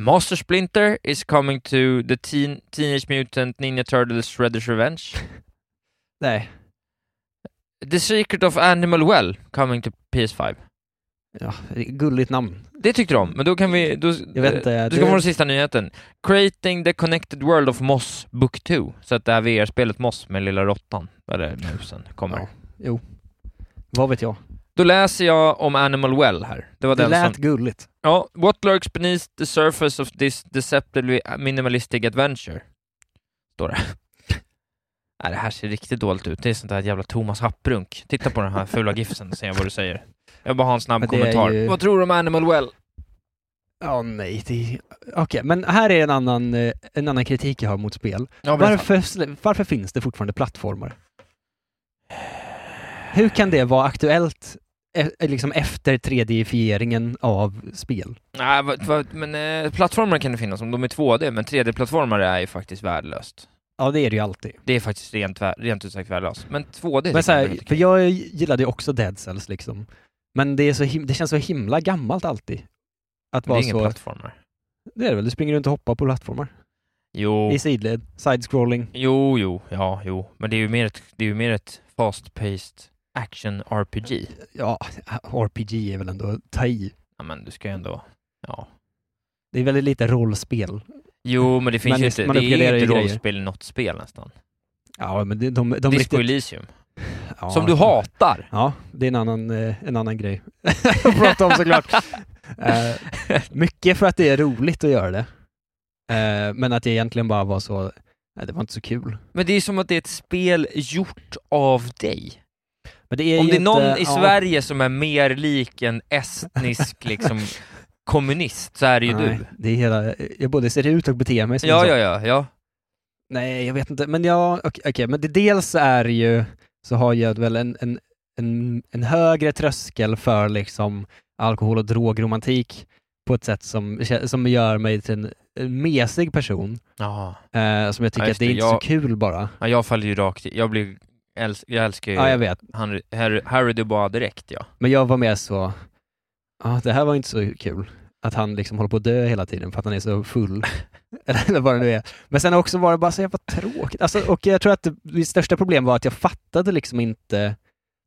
S2: Master Splinter is coming to the teen, Teenage Mutant Ninja Turtles Shredder's Revenge.
S1: Nej.
S2: The Secret of Animal Well coming to PS5.
S1: Ja, gulligt namn.
S2: Det tyckte de, men då kan vi... Då,
S1: Jag vet inte,
S2: Du ska
S1: det-
S2: få den sista nyheten. Creating the connected world of Moss Book 2. Så att det här VR-spelet Moss med lilla råttan, eller musen, kommer.
S1: Ja. Vad vet jag?
S2: Då läser jag om Animal Well här. Det var
S1: Det
S2: den
S1: lät
S2: som...
S1: gulligt.
S2: Ja, what lurks beneath the surface of this deceptively minimalistic adventure? Står det. Nej, det här ser riktigt dåligt ut. Det är sånt där jävla Thomas Happrunk. Titta på den här fula gifsen och se vad du säger. Jag vill bara ha en snabb
S1: Men det är
S2: kommentar.
S1: ju-
S2: Vad tror du om Animal Well?
S1: Ja, nej. Det... Okej, men här är en annan, eh, en annan kritik jag har mot spel.
S2: Ja, berätta.
S1: Varför, slä- varför finns det fortfarande plattformar? Hur kan det vara aktuellt eh, eh, liksom efter 3D-fieringen av spel?
S2: Nej, vad- vad- men eh, plattformar kan det finnas om de är 2D, men 3D-plattformar är ju faktiskt värdelöst.
S1: Ja, det är det ju alltid.
S2: Det är faktiskt rent, vä- rent ut sagt värdelöst. Men 2D...
S1: Men
S2: tycker jag är
S1: så här,
S2: lite
S1: för
S2: kul.
S1: jag gillade ju också Dead Cells liksom. Men det, är så him- det känns så himla gammalt alltid. Att
S2: Men det
S1: vara
S2: är ingen
S1: så...
S2: plattformar.
S1: Det är det väl? Du springer runt och hoppar på plattformar.
S2: Jo,
S1: I sidled, side-scrolling.
S2: jo, jo, ja, jo. Men det är ju mer ett, det är ju mer ett fast-paced action-RPG.
S1: Ja, RPG är väl ändå att ta i.
S2: Ja, men du ska ju ändå... Ja.
S1: Det är väldigt lite rollspel.
S2: Jo, men det finns
S1: Men
S2: ju
S1: det-
S2: inte...
S1: man
S2: Det är
S1: uppgraderar
S2: ju
S1: ju
S2: inte
S1: grejer.
S2: rollspel i något spel nästan.
S1: Ja, men de, de, de
S2: Disco
S1: riktigt-
S2: Elysium.
S1: ja,
S2: som du hatar!
S1: Ja, det är en annan, eh, en annan grej att prata om såklart. Eh, mycket för att det är roligt att göra det. Eh, men att jag egentligen bara var så, nej, det var inte så kul.
S2: Men det är som att det är ett spel gjort av dig.
S1: Men det är
S2: Om
S1: ju
S2: det är någon
S1: inte-
S2: i
S1: ja,
S2: Sverige som är mer lik en estnisk liksom, kommunist så är det ju
S1: nej,
S2: du.
S1: Det är hela, jag både ser ut och beter mig som en
S2: Ja,
S1: sån.
S2: ja, ja, ja.
S1: Nej, jag vet inte. Men ja, okej, okej. men det dels är ju, så har jag väl en, en, en, en högre tröskel för liksom alkohol och drogromantik på ett sätt som, som gör mig till en, en mesig person.
S2: Ja,
S1: Eh, som jag tycker
S2: Ja, just
S1: att det är
S2: det.
S1: inte
S2: Jag-
S1: så kul bara.
S2: ja jag faller ju rakt i. Jag, blir, äls- jag älskar ju
S1: Ja, jag vet.
S2: Harry, Harry, Harry Dubois direkt ja.
S1: Men jag var mer så, ja det här var inte så kul. att han liksom håller på att dö hela tiden för att han är så full. Eller vad det nu är. Men sen också var det bara så jävla tråkigt. Alltså, och jag tror att det- mitt största problem var att jag fattade liksom inte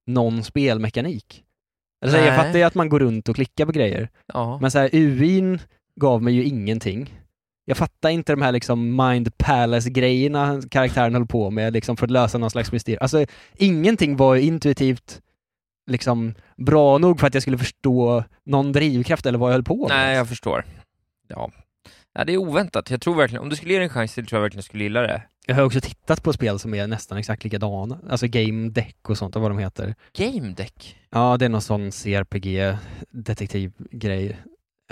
S1: någon spelmekanik. Alltså, jag
S2: Nej.
S1: fattade ju att man går runt och klickar på grejer.
S2: Ja.
S1: Men så här, UIn gav mig ju ingenting. Jag fattar inte de här liksom mind palace-grejerna hans- karaktären höll på med liksom för att lösa någon slags mysterium. Alltså ingenting var ju intuitivt liksom bra nog för att jag skulle förstå någon drivkraft eller vad jag höll på med.
S2: Nej, jag förstår. Ja. Nej, det är oväntat. Jag tror verkligen, om du skulle ge det en chans till tror jag verkligen du skulle gilla det.
S1: Jag har också tittat på spel som är nästan exakt likadana, alltså game deck och sånt, och vad de heter.
S2: Game Deck?
S1: Ja, det är någon sån CRPG detektivgrej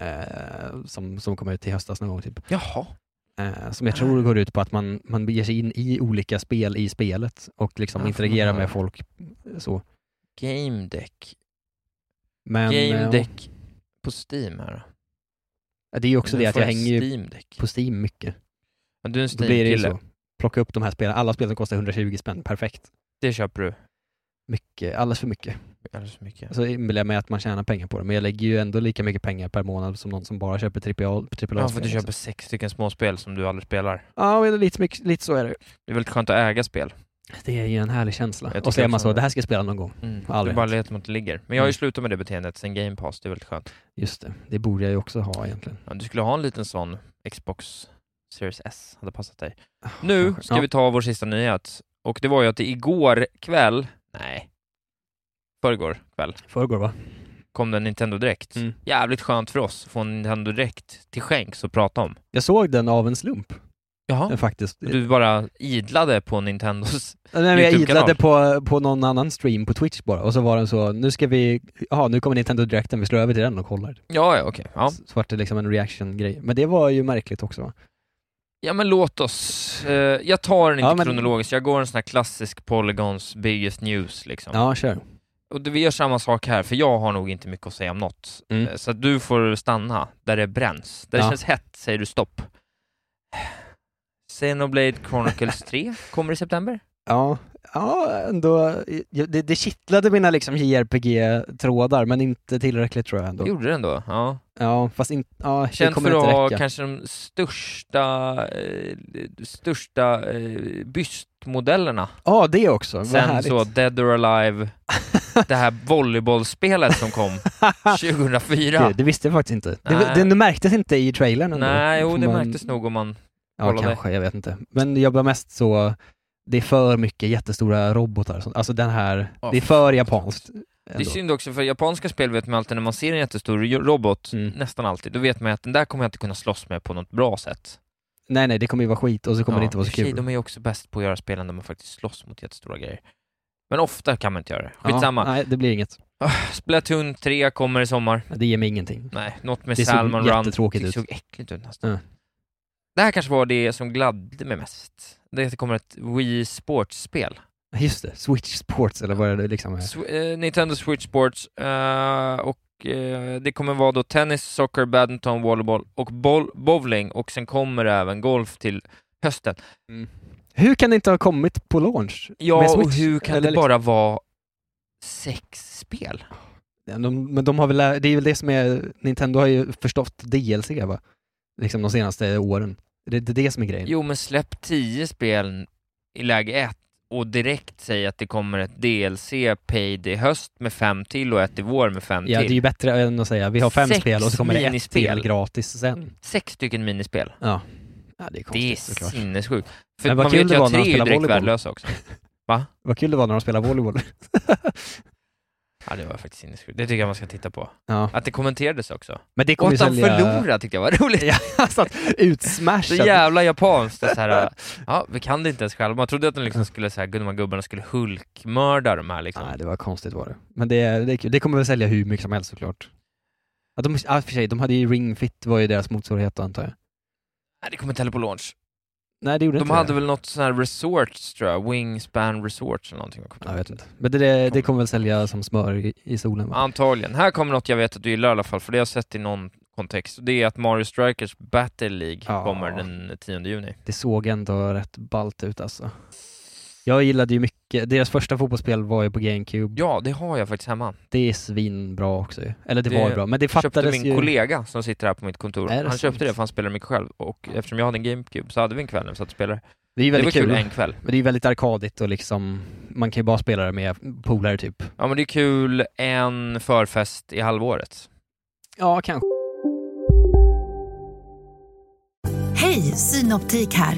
S1: eh, som, som kom ut i höstas någon gång typ.
S2: Jaha.
S1: Eh, som jag tror går ut på att man, man ger sig in i olika spel i spelet och liksom
S2: Ja,
S1: interagerar
S2: fan.
S1: med folk. eh, Så.
S2: Game Deck.
S1: Men
S2: Game
S1: eh,
S2: Deck på Steam här då.
S1: det är ju också
S2: Nu
S1: det att
S2: får
S1: jag hänger ju
S2: Steam Deck.
S1: på Steam mycket.
S2: Men du är en
S1: Då blir det ju
S2: Steam-kille.
S1: så. Plocka upp de här spelen, alla spel som kostar 120 spänn, perfekt.
S2: Det köper du.
S1: Mycket, alldeles för mycket. Alltså,
S2: Alldeles för mycket.
S1: Så inbillar jag mig att man tjänar pengar på det, men jag lägger ju ändå lika mycket pengar per månad som någon som bara köper AAA-spel.
S2: Ja, för du
S1: liksom.
S2: köper sex stycken småspel som du aldrig spelar.
S1: Ja, men lite, mycket- lite så är det.
S2: Det är väldigt skönt att äga spel.
S1: Det är ju en härlig känsla.
S2: Jag
S1: Och så är
S2: tycker
S1: man
S2: också-
S1: så, det här ska jag spela någon gång.
S2: Mm. Du
S1: Aldrig
S2: bara
S1: hänt.
S2: letar mot det ligger. Men jag har ju
S1: Mm.
S2: slutat med det beteendet sen Game Pass, det är väldigt skönt.
S1: Just det, det borde jag ju också ha egentligen.
S2: Ja, du skulle ha en liten sån Xbox Series S, hade passat dig. Nu ska
S1: Ah, Ja.
S2: vi ta vår sista nyhet. Och det var ju att det igår kväll, nej, förrgår kväll,
S1: Förrgår va?
S2: kom det en Nintendo Direkt.
S1: Mm.
S2: Jävligt skönt för oss att få en Nintendo Direkt till skänks och prata om.
S1: Jag såg den av en slump eh,
S2: Jaha.
S1: faktiskt.
S2: Du bara idlade på Nintendos...
S1: Nej, men jag
S2: YouTube-kanal.
S1: idlade på, på någon annan stream på Twitch bara och så var den så, nu ska vi, jaha nu kommer Nintendo Directen, vi slår över till den och kollar.
S2: Ja, ja, okej. Ja.
S1: Så vart det liksom en reaction-grej. Men det var ju märkligt också. va?
S2: ja, men låt oss. Eh, jag tar den inte
S1: Ja, men-
S2: kronologiskt, jag går en sån här klassisk Polygons biggest news liksom.
S1: Ja, kör.
S2: Och det- vi gör samma sak här, för jag har nog inte mycket att säga om något.
S1: Mm.
S2: Eh, Så att du får stanna där det bränns. Där det
S1: Ja.
S2: känns hett säger du stopp. Xenoblade Chronicles 3 kommer i september.
S1: Ja, ja ändå, ja, det, det kittlade mina liksom JRPG-trådar men inte tillräckligt tror jag
S2: Det
S1: ändå.
S2: gjorde den då. Ja.
S1: Ja, fast inte, ja, det
S2: Känd
S1: kommer
S2: för att
S1: inte
S2: ha
S1: räcka.
S2: kanske de största, eh, största eh, bystmodellerna.
S1: Ja, det också. Vad
S2: Sen
S1: härligt.
S2: så Dead or Alive, det här volleybollspelet som kom 2004.
S1: Gud, det visste jag faktiskt inte. Det,
S2: Nej.
S1: det, det märktes inte i trailern ändå.
S2: Nej, jo
S1: Får
S2: det
S1: man-
S2: märktes nog om man...
S1: Ja,
S2: kollade.
S1: kanske. Jag vet inte. Men jag var mest så, det är för mycket jättestora robotar och sånt. Alltså den här,
S2: Ja,
S1: det är för japanskt.
S2: Det är
S1: Ändå.
S2: synd också, för japanska spel vet man alltid när man ser en jättestor jo- robot,
S1: Mm.
S2: nästan alltid, då vet man att den där kommer jag inte kunna slåss med på något bra sätt.
S1: Nej, nej, det kommer ju vara skit och så kommer
S2: Ja,
S1: det inte vara så
S2: i och för sig,
S1: kul.
S2: De är ju också bäst på att göra spelen där man faktiskt slåss mot jättestora grejer. Men ofta kan man inte göra det.
S1: Ja,
S2: Skitsamma. Ah,
S1: nej, det blir inget.
S2: Splatoon 3 kommer i sommar.
S1: Det ger mig ingenting.
S2: Nej, något med
S1: Det såg
S2: Salmon Run.
S1: jättetråkigt
S2: Det
S1: ut.
S2: såg äckligt ut nästan.
S1: Ja.
S2: Det här kanske var det som gladde mig mest. Det är att det kommer ett Wii Sports-spel.
S1: Just det, Switch Sports eller vad är det liksom är.
S2: Sw- eh, Nintendo Switch Sports eh, och eh, det kommer vara då tennis, soccer, badminton, volleyboll och boll- bowling och sen kommer det även golf till hösten.
S1: Hur kan det inte ha kommit på launch? med
S2: Ja,
S1: Switch?
S2: och hur kan
S1: Eller
S2: det bara vara sex spel?
S1: Liksom, de, men de har väl, lä- det är väl det som är, Nintendo har ju förstått DLC va? Liksom de senaste åren. Det det är det som är grejen.
S2: Jo, men släpp tio spel i läge ett och direkt säg att det kommer ett DLC paid i höst med fem till och ett i vår med fem
S1: Ja, det är
S2: till.
S1: ju bättre än att säga vi har fem
S2: Sex
S1: spel och så kommer det ett
S2: minispel.
S1: spel gratis sen.
S2: Sex stycken minispel.
S1: Ja, ja det är
S2: Det är
S1: konstigt såklart.
S2: sinnessjukt. För
S1: Men vad
S2: man
S1: kul
S2: vet
S1: det
S2: ju
S1: var
S2: att
S1: när de
S2: tre är ju
S1: spelade
S2: direkt
S1: volleyboll.
S2: värdelösa också.
S1: Vad kul det var när de spelade volleyboll.
S2: Ja, det var faktiskt sinnessjukt. Det tycker jag man ska titta på.
S1: ja.
S2: Att det kommenterades också.
S1: Men det
S2: Och
S1: kommer ju
S2: att han
S1: sälja...
S2: förlorade tyckte jag var roligt.
S1: alltså att
S2: Så
S1: utsmashat.
S2: jävla japanskt. Det så här, äh, ja, vi kan det inte ens själva. Man trodde att de liksom skulle, så här, gud, de här gubbarna skulle hulkmörda de här liksom.
S1: Nej, det var konstigt var det. Men det, det, är kul. det kommer väl sälja hur mycket som helst såklart. Ja, de, ja, för sig, de hade ju Ring Fit var ju deras motsvarighet då, antar jag.
S2: Nej, det kommer inte heller på launch.
S1: Nej, det gjorde
S2: De
S1: inte
S2: hade
S1: det.
S2: väl något sån här resort tror jag, Wingspan Resort eller någonting. Jag kommer inte
S1: Jag
S2: ihåg.
S1: vet inte. Men det, det, det kommer väl sälja som smör i, i solen va?
S2: Antagligen. Här kommer något jag vet att du gillar i alla fall, för det har jag sett i någon kontext. Det är att Mario Strikers Battle League
S1: Ja.
S2: kommer den 10 juni.
S1: Det såg ändå rätt ballt ut alltså. Jag gillade ju mycket, deras första fotbollsspel var ju på GameCube.
S2: Ja, det har jag faktiskt hemma.
S1: Det är svinbra också ju. Eller det, var ju bra, men det fattades
S2: köpte min
S1: ju...
S2: kollega som sitter här på mitt kontor.
S1: Är det
S2: Han
S1: sant?
S2: köpte det för han spelade mycket själv och eftersom jag hade en GameCube så hade vi en kväll när vi satt och spelade.
S1: Det är ju
S2: Det var
S1: väldigt
S2: kul
S1: kul.
S2: en kväll.
S1: Men det är ju väldigt arkadigt och liksom, man kan ju bara spela det med polare typ.
S2: Ja men det är kul en förfest i halvåret.
S1: Ja, kanske.
S4: Hej, Synoptik här.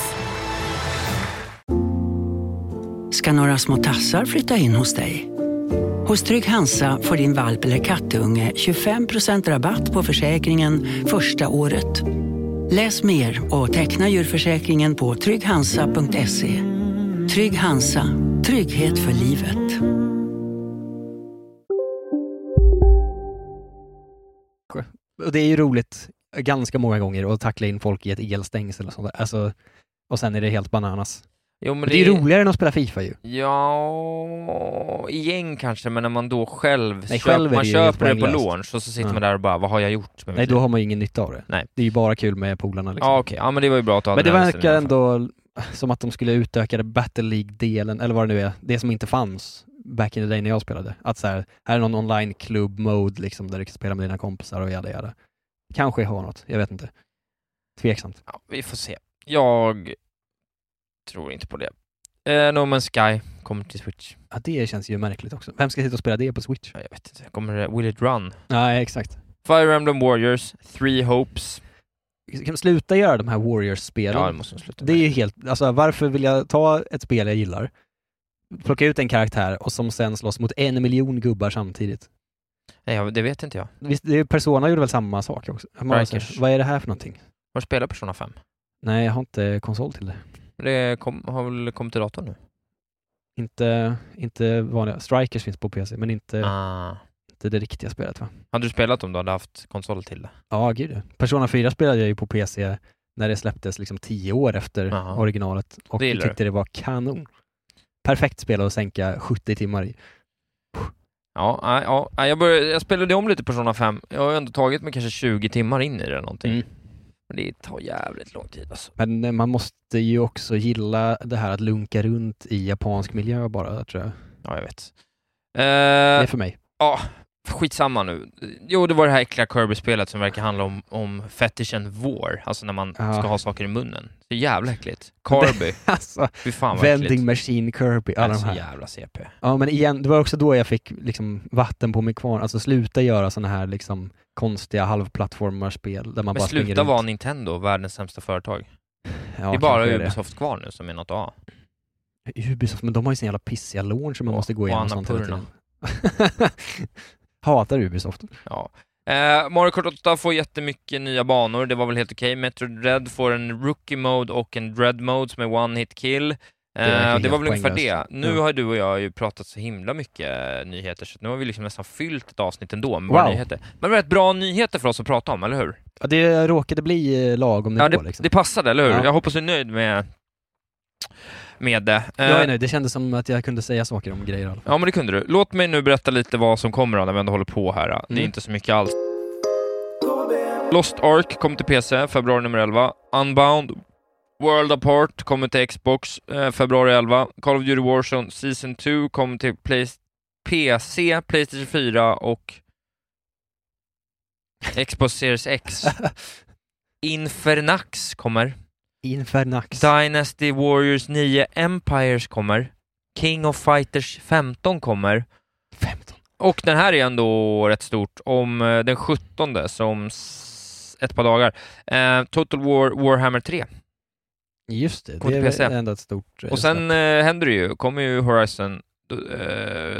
S5: ska några små tassar flytta in hos dig. Hos Trygg Hansa får din valp eller kattunge 25% rabatt på försäkringen första året. Läs mer och teckna djurförsäkringen på trygghansa.se. Trygg Hansa, trygghet för livet.
S1: Och det är ju roligt ganska många gånger att tackla in folk i ett elstängsel och sånt där. Alltså, och sen är det helt bananas.
S2: Jo, men
S1: det, är ju roligare än att spela Fifa ju.
S2: Ja, igen kanske, men när man då själv, köp,
S1: Nej, själv är
S2: man
S1: det ju
S2: köper det på
S1: poänglöst.
S2: launch och så sitter
S1: Ja.
S2: man där och bara, vad har jag gjort med
S1: Nej,
S2: mitt
S1: då
S2: liv?
S1: har man ju ingen nytta av det.
S2: Nej.
S1: Det är ju bara kul med polarna liksom.
S2: Ja okej, ja men det var ju bra att ta
S1: Men det
S2: den här inställningen i
S1: verkar
S2: alla fall.
S1: ändå som att de skulle utöka det Battle League-delen, eller vad det nu är, det som inte fanns back in the day när jag spelade. Att så här, här är någon online club mode liksom, där du kan spela med dina kompisar och jada jada. Kanske har något, jag vet inte. Tveksamt.
S2: Ja, vi får se. Jag tror inte på det. Eh, no Man's Sky kommer till Switch.
S1: Ja, det känns ju märkligt också. Vem ska sitta och spela det på Switch?
S2: Jag vet inte, kommer det, Will It Run?
S1: Nej, exakt.
S2: Fire Emblem Warriors, Three Hopes.
S1: Kan de sluta göra de här Warriors-spelen?
S2: Ja, det måste de sluta
S1: Det är ju helt, alltså varför vill jag ta ett spel jag gillar, plocka ut en karaktär och som sen slåss mot en miljon gubbar samtidigt?
S2: Nej, jag- det vet inte jag.
S1: Visst, det är Persona gjorde väl samma sak också? Man bara så här,
S2: Strikers.
S1: alltså, vad är det här för någonting?
S2: Har du spelat Persona 5?
S1: Nej, jag har inte konsol till det.
S2: Det kom, har väl kommit till datorn nu?
S1: Inte, inte vanliga, Strikers finns på PC, men inte,
S2: Ah.
S1: inte det riktiga spelet va?
S2: Hade du spelat om du hade haft konsol till det?
S1: Ja, gud ja. Persona 4 spelade jag ju på PC när det släpptes liksom tio år efter
S2: Jaha.
S1: originalet och
S2: Det gillar
S1: jag
S2: du.
S1: tyckte det var kanon. Perfekt spel att sänka 70 timmar i.
S2: Ja, nej, ja, nej, jag, började, jag spelade om lite Persona 5. Jag har ju ändå tagit mig kanske 20 timmar in i det eller någonting. Men det tar jävligt lång tid alltså.
S1: Mm. Men eh, man måste ju också gilla det här att lunka runt i japansk miljö bara, tror jag.
S2: Ja, jag vet.
S1: Det
S2: Eh,
S1: är för mig.
S2: Ja, skitsamma nu. Jo, det var det här äckliga Kirby-spelet som verkar handla om, om fetishen war, alltså när man
S1: Ja.
S2: ska ha saker i munnen. Så jävla äckligt. Kirby,
S1: alltså,
S2: fy fan vad
S1: Vending
S2: äckligt.
S1: Machine Kirby, alla de
S2: Alltså,
S1: här.
S2: jävla CP.
S1: Ja men igen, det var också då jag fick liksom vatten på min kvarn. Alltså sluta göra såna här liksom konstiga halvplattformarspel där
S2: Men
S1: man bara springer
S2: sluta
S1: runt.
S2: vara Nintendo, världens sämsta företag.
S1: Ja,
S2: det är
S1: kanske
S2: bara
S1: det.
S2: Ubisoft kvar nu som är något A.
S1: Ubisoft, men de har ju sin jävla pissiga launch som man
S2: Och-
S1: måste gå
S2: och
S1: igenom sånt hela
S2: Annapurna.
S1: tiden. Hatar Ubisoft.
S2: Ja. Eh, Mario Kart 8 får jättemycket nya banor, det var väl helt okej. Metro Dread får en Rookie Mode och en Dread Mode som är One Hit Kill. Eh,
S1: verkar
S2: det, var
S1: helt
S2: väl ungefär det.
S1: poänglöst.
S2: Nu
S1: Ja.
S2: har du och jag ju pratat så himla mycket eh, nyheter, så att nu har vi liksom nästan fyllt ett avsnitt ändå med våra
S1: Wow.
S2: nyheter. Men det var rätt bra nyheter för oss att prata om, eller hur?
S1: Ja, det råkade bli eh, lagom nivå
S2: Ja, det,
S1: liksom.
S2: det passade, eller hur?
S1: Ja.
S2: Jag hoppas du är nöjd med, med det. Eh,
S1: Jag är nöjd, det kändes som att jag kunde säga saker om grejer i alla fall.
S2: Ja, men det kunde du. Låt mig nu berätta lite vad som kommer då, när vi ändå håller på här. Det är
S1: Mm.
S2: inte så mycket alls. Lost Ark kommer till PC, februari nummer 11. Unbound World Apart kommer till Xbox, eh, februari 11. Call of Duty Warzone Season 2 kommer till Play- PC, Playstation 4 och Xbox Series X. Infernax kommer.
S1: Infernax.
S2: Dynasty Warriors 9 Empires kommer. King of Fighters 15 kommer.
S1: 15.
S2: Och den här är ändå rätt stort. Om eh, den 17 som s- ett par dagar. Eh, Total War Warhammer 3.
S1: Just det,
S2: Kommer
S1: det
S2: till
S1: är
S2: PC.
S1: väl ändå ett stort... eh,
S2: Och sen eh, händer det ju, kommer ju Horizon, eh,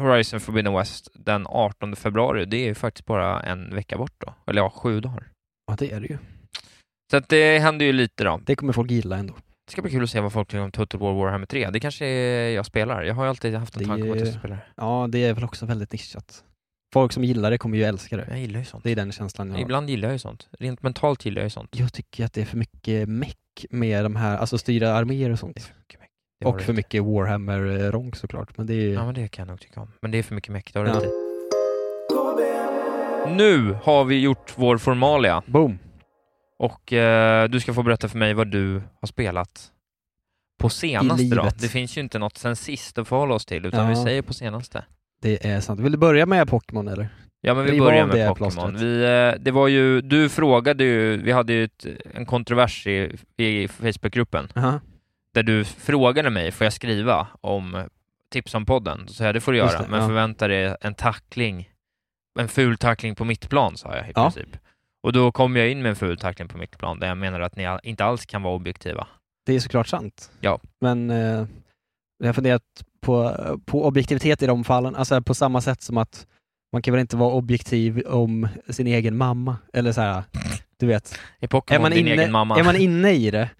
S2: Horizon Forbidden West den 18 februari. Det är ju faktiskt bara en vecka bort då. Eller ja, sju dagar.
S1: Ja, det är det ju.
S2: Så att det händer ju lite då.
S1: Det kommer folk gilla ändå.
S2: Det ska bli kul att se vad folk tycker om Total War Warhammer 3. Det kanske är jag spelar. Jag har ju alltid haft en
S1: Det
S2: tanke om att jag
S1: är-
S2: ska spela det.
S1: Ja, det är väl också väldigt nischat. Folk som gillar det kommer ju älska det.
S2: Jag gillar ju sånt.
S1: Det är den känslan jag har.
S2: Ibland gillar jag ju sånt. Rent mentalt gillar jag ju sånt.
S1: Jag tycker att det är för mycket meck med de här, alltså styra arméer och sånt.
S2: Det har
S1: Och
S2: du
S1: för
S2: rätt i.
S1: mycket Warhammer-ronk såklart, men det är ju...
S2: Ja men det kan jag nog tycka om. Men det är för mycket meck, det har du
S1: Ja.
S2: rätt i. Nu har vi gjort vår formalia.
S1: Boom!
S2: Och eh, du ska få berätta för mig vad du har spelat på
S1: I
S2: senaste
S1: livet.
S2: då. Det finns ju inte något sen sist att förhålla oss till, utan
S1: Ja.
S2: vi säger på senaste.
S1: Det är sant. Vill du börja med Pokémon eller?
S2: Ja men vi
S1: Riva
S2: börjar
S1: av det
S2: med Pokémon.
S1: plåstret.
S2: Vi, eh, det var ju, du frågade ju, vi hade ju ett, en kontrovers i, i Facebookgruppen,
S1: Aha.
S2: där du frågade mig, får jag skriva om tips om podden? Så sa jag, det får du
S1: Just
S2: göra,
S1: det,
S2: men
S1: ja.
S2: förvänta dig en tackling, en ful tackling på mitt plan sa jag i
S1: Ja.
S2: princip. Och då kom jag in med en ful tackling på mitt plan, där jag menar att ni all- inte alls kan vara objektiva.
S1: Det är såklart sant.
S2: Ja.
S1: Men eh, jag har funderat på, på objektivitet i de fallen, alltså på samma sätt som att man kan väl inte vara objektiv om sin egen mamma, eller så här, du vet.
S2: I Pokémon,
S1: man
S2: din
S1: inne,
S2: egen mamma.
S1: Är man inne i det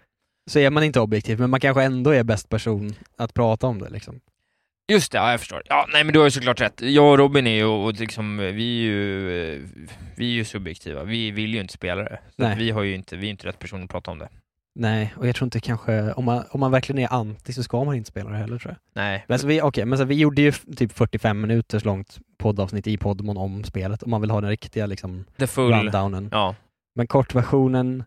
S1: så är man inte objektiv, men man kanske ändå är bäst person att prata om det liksom.
S2: Just det, ja, jag förstår. Ja, nej men du har ju såklart rätt. Jag och Robin är ju, och liksom, vi är ju, eh, vi är ju subjektiva. Vi vill ju inte spela det. Så
S1: Nej.
S2: att vi, har ju inte, vi är inte rätt person att prata om det.
S1: Nej, och jag tror inte kanske, om man, om man verkligen är anti så ska man inte spela det heller tror jag.
S2: Nej.
S1: Men, så vi, okay, men så vi gjorde ju f- typ 45 minuters långt poddavsnitt i Podmon om spelet, om man vill ha den riktiga liksom
S2: The full...
S1: rundownen.
S2: Ja.
S1: Men kortversionen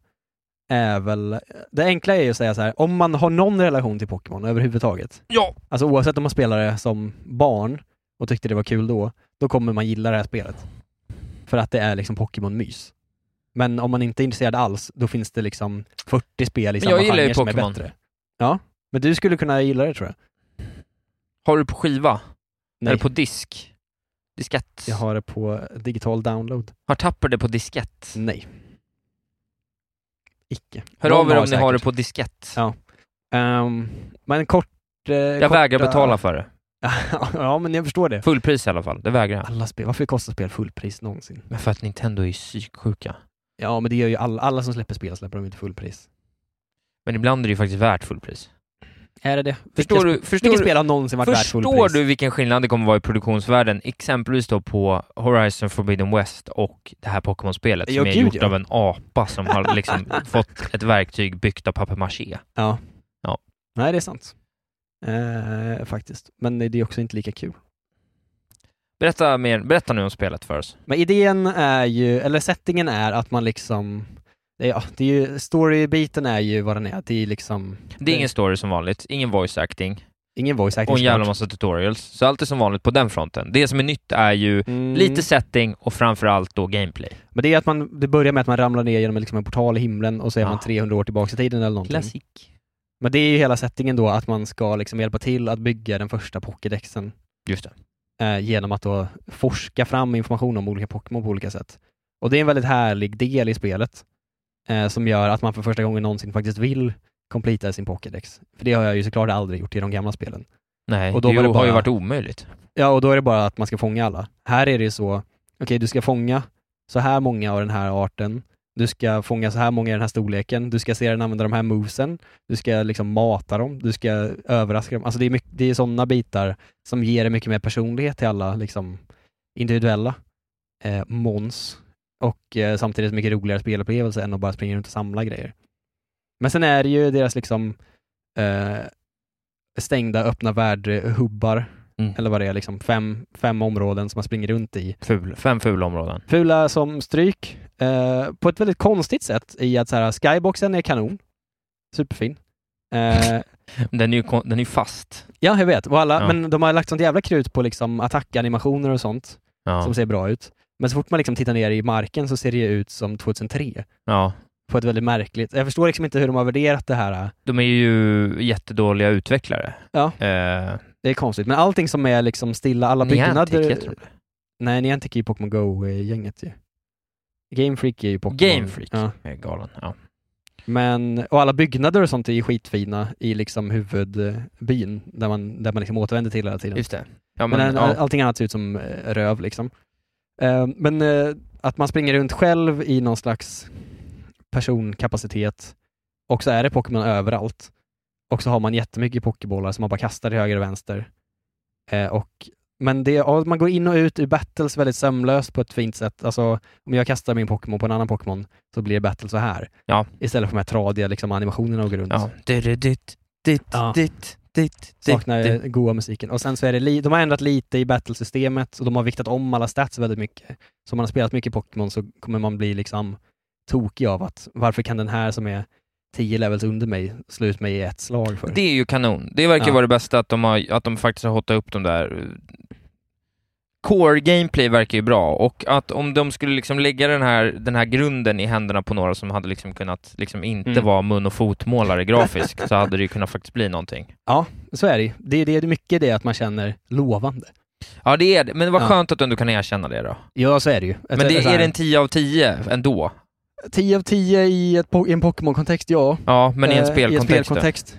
S1: är väl, det enkla är ju att säga så här, om man har någon relation till Pokémon överhuvudtaget,
S2: Ja.
S1: alltså oavsett om man spelade det som barn och tyckte det var kul då, då kommer man gilla det här spelet. För att det är liksom Pokémon-mys. Men om man inte är intresserad alls, då finns det liksom 40 spel i
S2: Men
S1: samma
S2: jag gillar ju
S1: genre som är
S2: Pokémon.
S1: bättre. Ja, men du skulle kunna gilla det tror jag.
S2: Har du på skiva?
S1: Nej.
S2: Eller på disk? Diskett?
S1: Jag har det på digital download.
S2: Har Tapper det på diskett?
S1: Nej. Icke.
S2: Hör
S1: Någon
S2: av er om ni
S1: säkert.
S2: har det på diskett.
S1: Ja. Ehm, men kort... eh,
S2: Jag
S1: korta...
S2: vägrar betala för det.
S1: ja, men jag förstår det.
S2: Fullpris i alla fall, det vägrar jag.
S1: Alla spel, varför kostar spel fullpris någonsin?
S2: Men för att Nintendo är ju psyksjuka.
S1: Ja, men det gör ju alla, alla som släpper spel släpper de inte fullpris.
S2: Men ibland är det ju faktiskt värt fullpris.
S1: Är det det?
S2: Förstår
S1: vilka,
S2: du-
S1: sp-
S2: förstår
S1: vilka
S2: du-
S1: spel har någonsin varit värt
S2: Förstår
S1: fullpris?
S2: du vilken skillnad det kommer vara i produktionsvärlden, exempelvis då på Horizon Forbidden West och det här Pokémon-spelet
S1: Ja,
S2: som är
S1: gud,
S2: gjort
S1: ja.
S2: av en apa som har liksom fått ett verktyg byggt av papier-maché.
S1: Ja.
S2: Ja.
S1: Nej, det är sant. Eh, faktiskt. Men det är också inte lika kul.
S2: Berätta, mer, berätta nu om spelet för oss.
S1: Men idén är ju, eller settingen är att man liksom, det är- ja, det är ju, storybiten är ju vad den är. Det är liksom,
S2: Det är ingen story som vanligt, ingen voice acting
S1: ingen voice acting.
S2: och en jävla
S1: såklart.
S2: massa tutorials. Så allt är som vanligt på den fronten. Det som är nytt är ju
S1: Mm.
S2: lite setting och framförallt då gameplay.
S1: Men det är att man, det börjar med att man ramlar ner genom liksom en portal i himlen och så är
S2: Ja.
S1: man 300 år tillbaka i tiden eller någonting.
S2: Ah. Klassik.
S1: Men det är ju hela settingen då, att man ska liksom hjälpa till att bygga den första pokédexen
S2: Just det.
S1: eh, genom att då forska fram information om olika Pokémon på olika sätt. Och det är en väldigt härlig del i spelet eh, som gör att man för första gången någonsin faktiskt vill completa sin Pokédex. För det har jag ju såklart aldrig gjort i de gamla spelen.
S2: Nej,
S1: Och då
S2: det,
S1: var det
S2: har ju
S1: bara-
S2: varit omöjligt.
S1: Ja, och då är det bara att man ska fånga alla. Här är det ju så, okej du ska fånga så här många av den här arten, du ska fånga så här många i den här storleken, du ska se den använda de här movesen, du ska liksom mata dem, du ska överraska dem. Alltså det är, mycket, det är sådana bitar som ger det mycket mer personlighet till alla liksom, individuella eh, mons och eh, samtidigt mycket roligare spelupplevelse än att bara springa runt och samla grejer. Men sen är det ju deras liksom eh, stängda öppna värld-hubbar
S2: Mm.
S1: eller vad det är, liksom fem, fem områden som man springer runt i.
S2: Ful. Fem fula områden.
S1: Fula som stryk, eh, på ett väldigt konstigt sätt i att så här, skyboxen är kanon, superfin. Eh,
S2: Den är ju kon- den är ju fast.
S1: ja, jag vet. Och alla,
S2: Ja.
S1: Men de har lagt sånt jävla krut på liksom attackanimationer och sånt
S2: Ja.
S1: som ser bra ut. Men så fort man liksom tittar ner i marken så ser det ju ut som 2003
S2: ja.
S1: på ett väldigt märkligt... Jag förstår liksom inte hur de har värderat det här.
S2: De är ju jättedåliga utvecklare.
S1: Ja,
S2: Eh,
S1: det är konstigt. Men allting som är liksom stilla, alla
S2: Niantic
S1: byggnader...
S2: heter de det.
S1: Nej, Niantic är ju Pokémon Go-gänget ju. Game Freak är ju Pokémon.
S2: Game Freak.
S1: Ja.
S2: Jag är galen. Ja.
S1: Men, och alla byggnader och sånt är ju skitfina i liksom huvudbyn, där man, där man liksom återvänder till hela tiden.
S2: Just det. Ja,
S1: men
S2: men,
S1: all-
S2: ja.
S1: allting annat ser ut som eh, röv liksom. Eh, Men eh, att man springer runt själv i någon slags personkapacitet, och så är det Pokémon överallt. Och så har man jättemycket pokébollar som man bara kastar till höger och vänster. Eh, och, men det, ja, man går in och ut ur battles väldigt sömlöst på ett fint sätt. Alltså, om jag kastar min Pokémon på en annan Pokémon så blir battle så här.
S2: Ja.
S1: Istället för de här tradiga liksom, animationerna och gå runt.
S2: Ja. Ditt, ditt,
S1: Ja.
S2: ditt, ditt,
S1: Saknar
S2: ditt.
S1: eh, goa musiken. Och sen så är det, li- de har ändrat lite i battlesystemet och de har viktat om alla stats väldigt mycket. Så om man har spelat mycket Pokémon så kommer man bli liksom tokig av att varför kan den här som är 10 levels under mig slå ut mig i ett slag för?
S2: Det är ju kanon. Det verkar
S1: Ja.
S2: vara det bästa att de, har, att de faktiskt har hotat upp de där... eh, Core gameplay verkar ju bra och att om de skulle liksom lägga den här, den här grunden i händerna på några som hade liksom kunnat liksom inte
S1: Mm.
S2: vara mun och fotmålare grafiskt så hade det ju kunnat faktiskt bli någonting.
S1: Ja, så är det ju. Det, det är mycket det att man känner lovande.
S2: Ja det är det, men vad
S1: Ja.
S2: skönt att du ändå kan erkänna det då.
S1: Ja, så är Alltså, det ju.
S2: Men det, är det en 10 av 10 ändå?
S1: 10 av 10 i, ett, po- i en Pokémon-kontext, ja.
S2: Ja, men i en
S1: Eh,
S2: spelkontext
S1: I
S2: då?
S1: en spelkontext.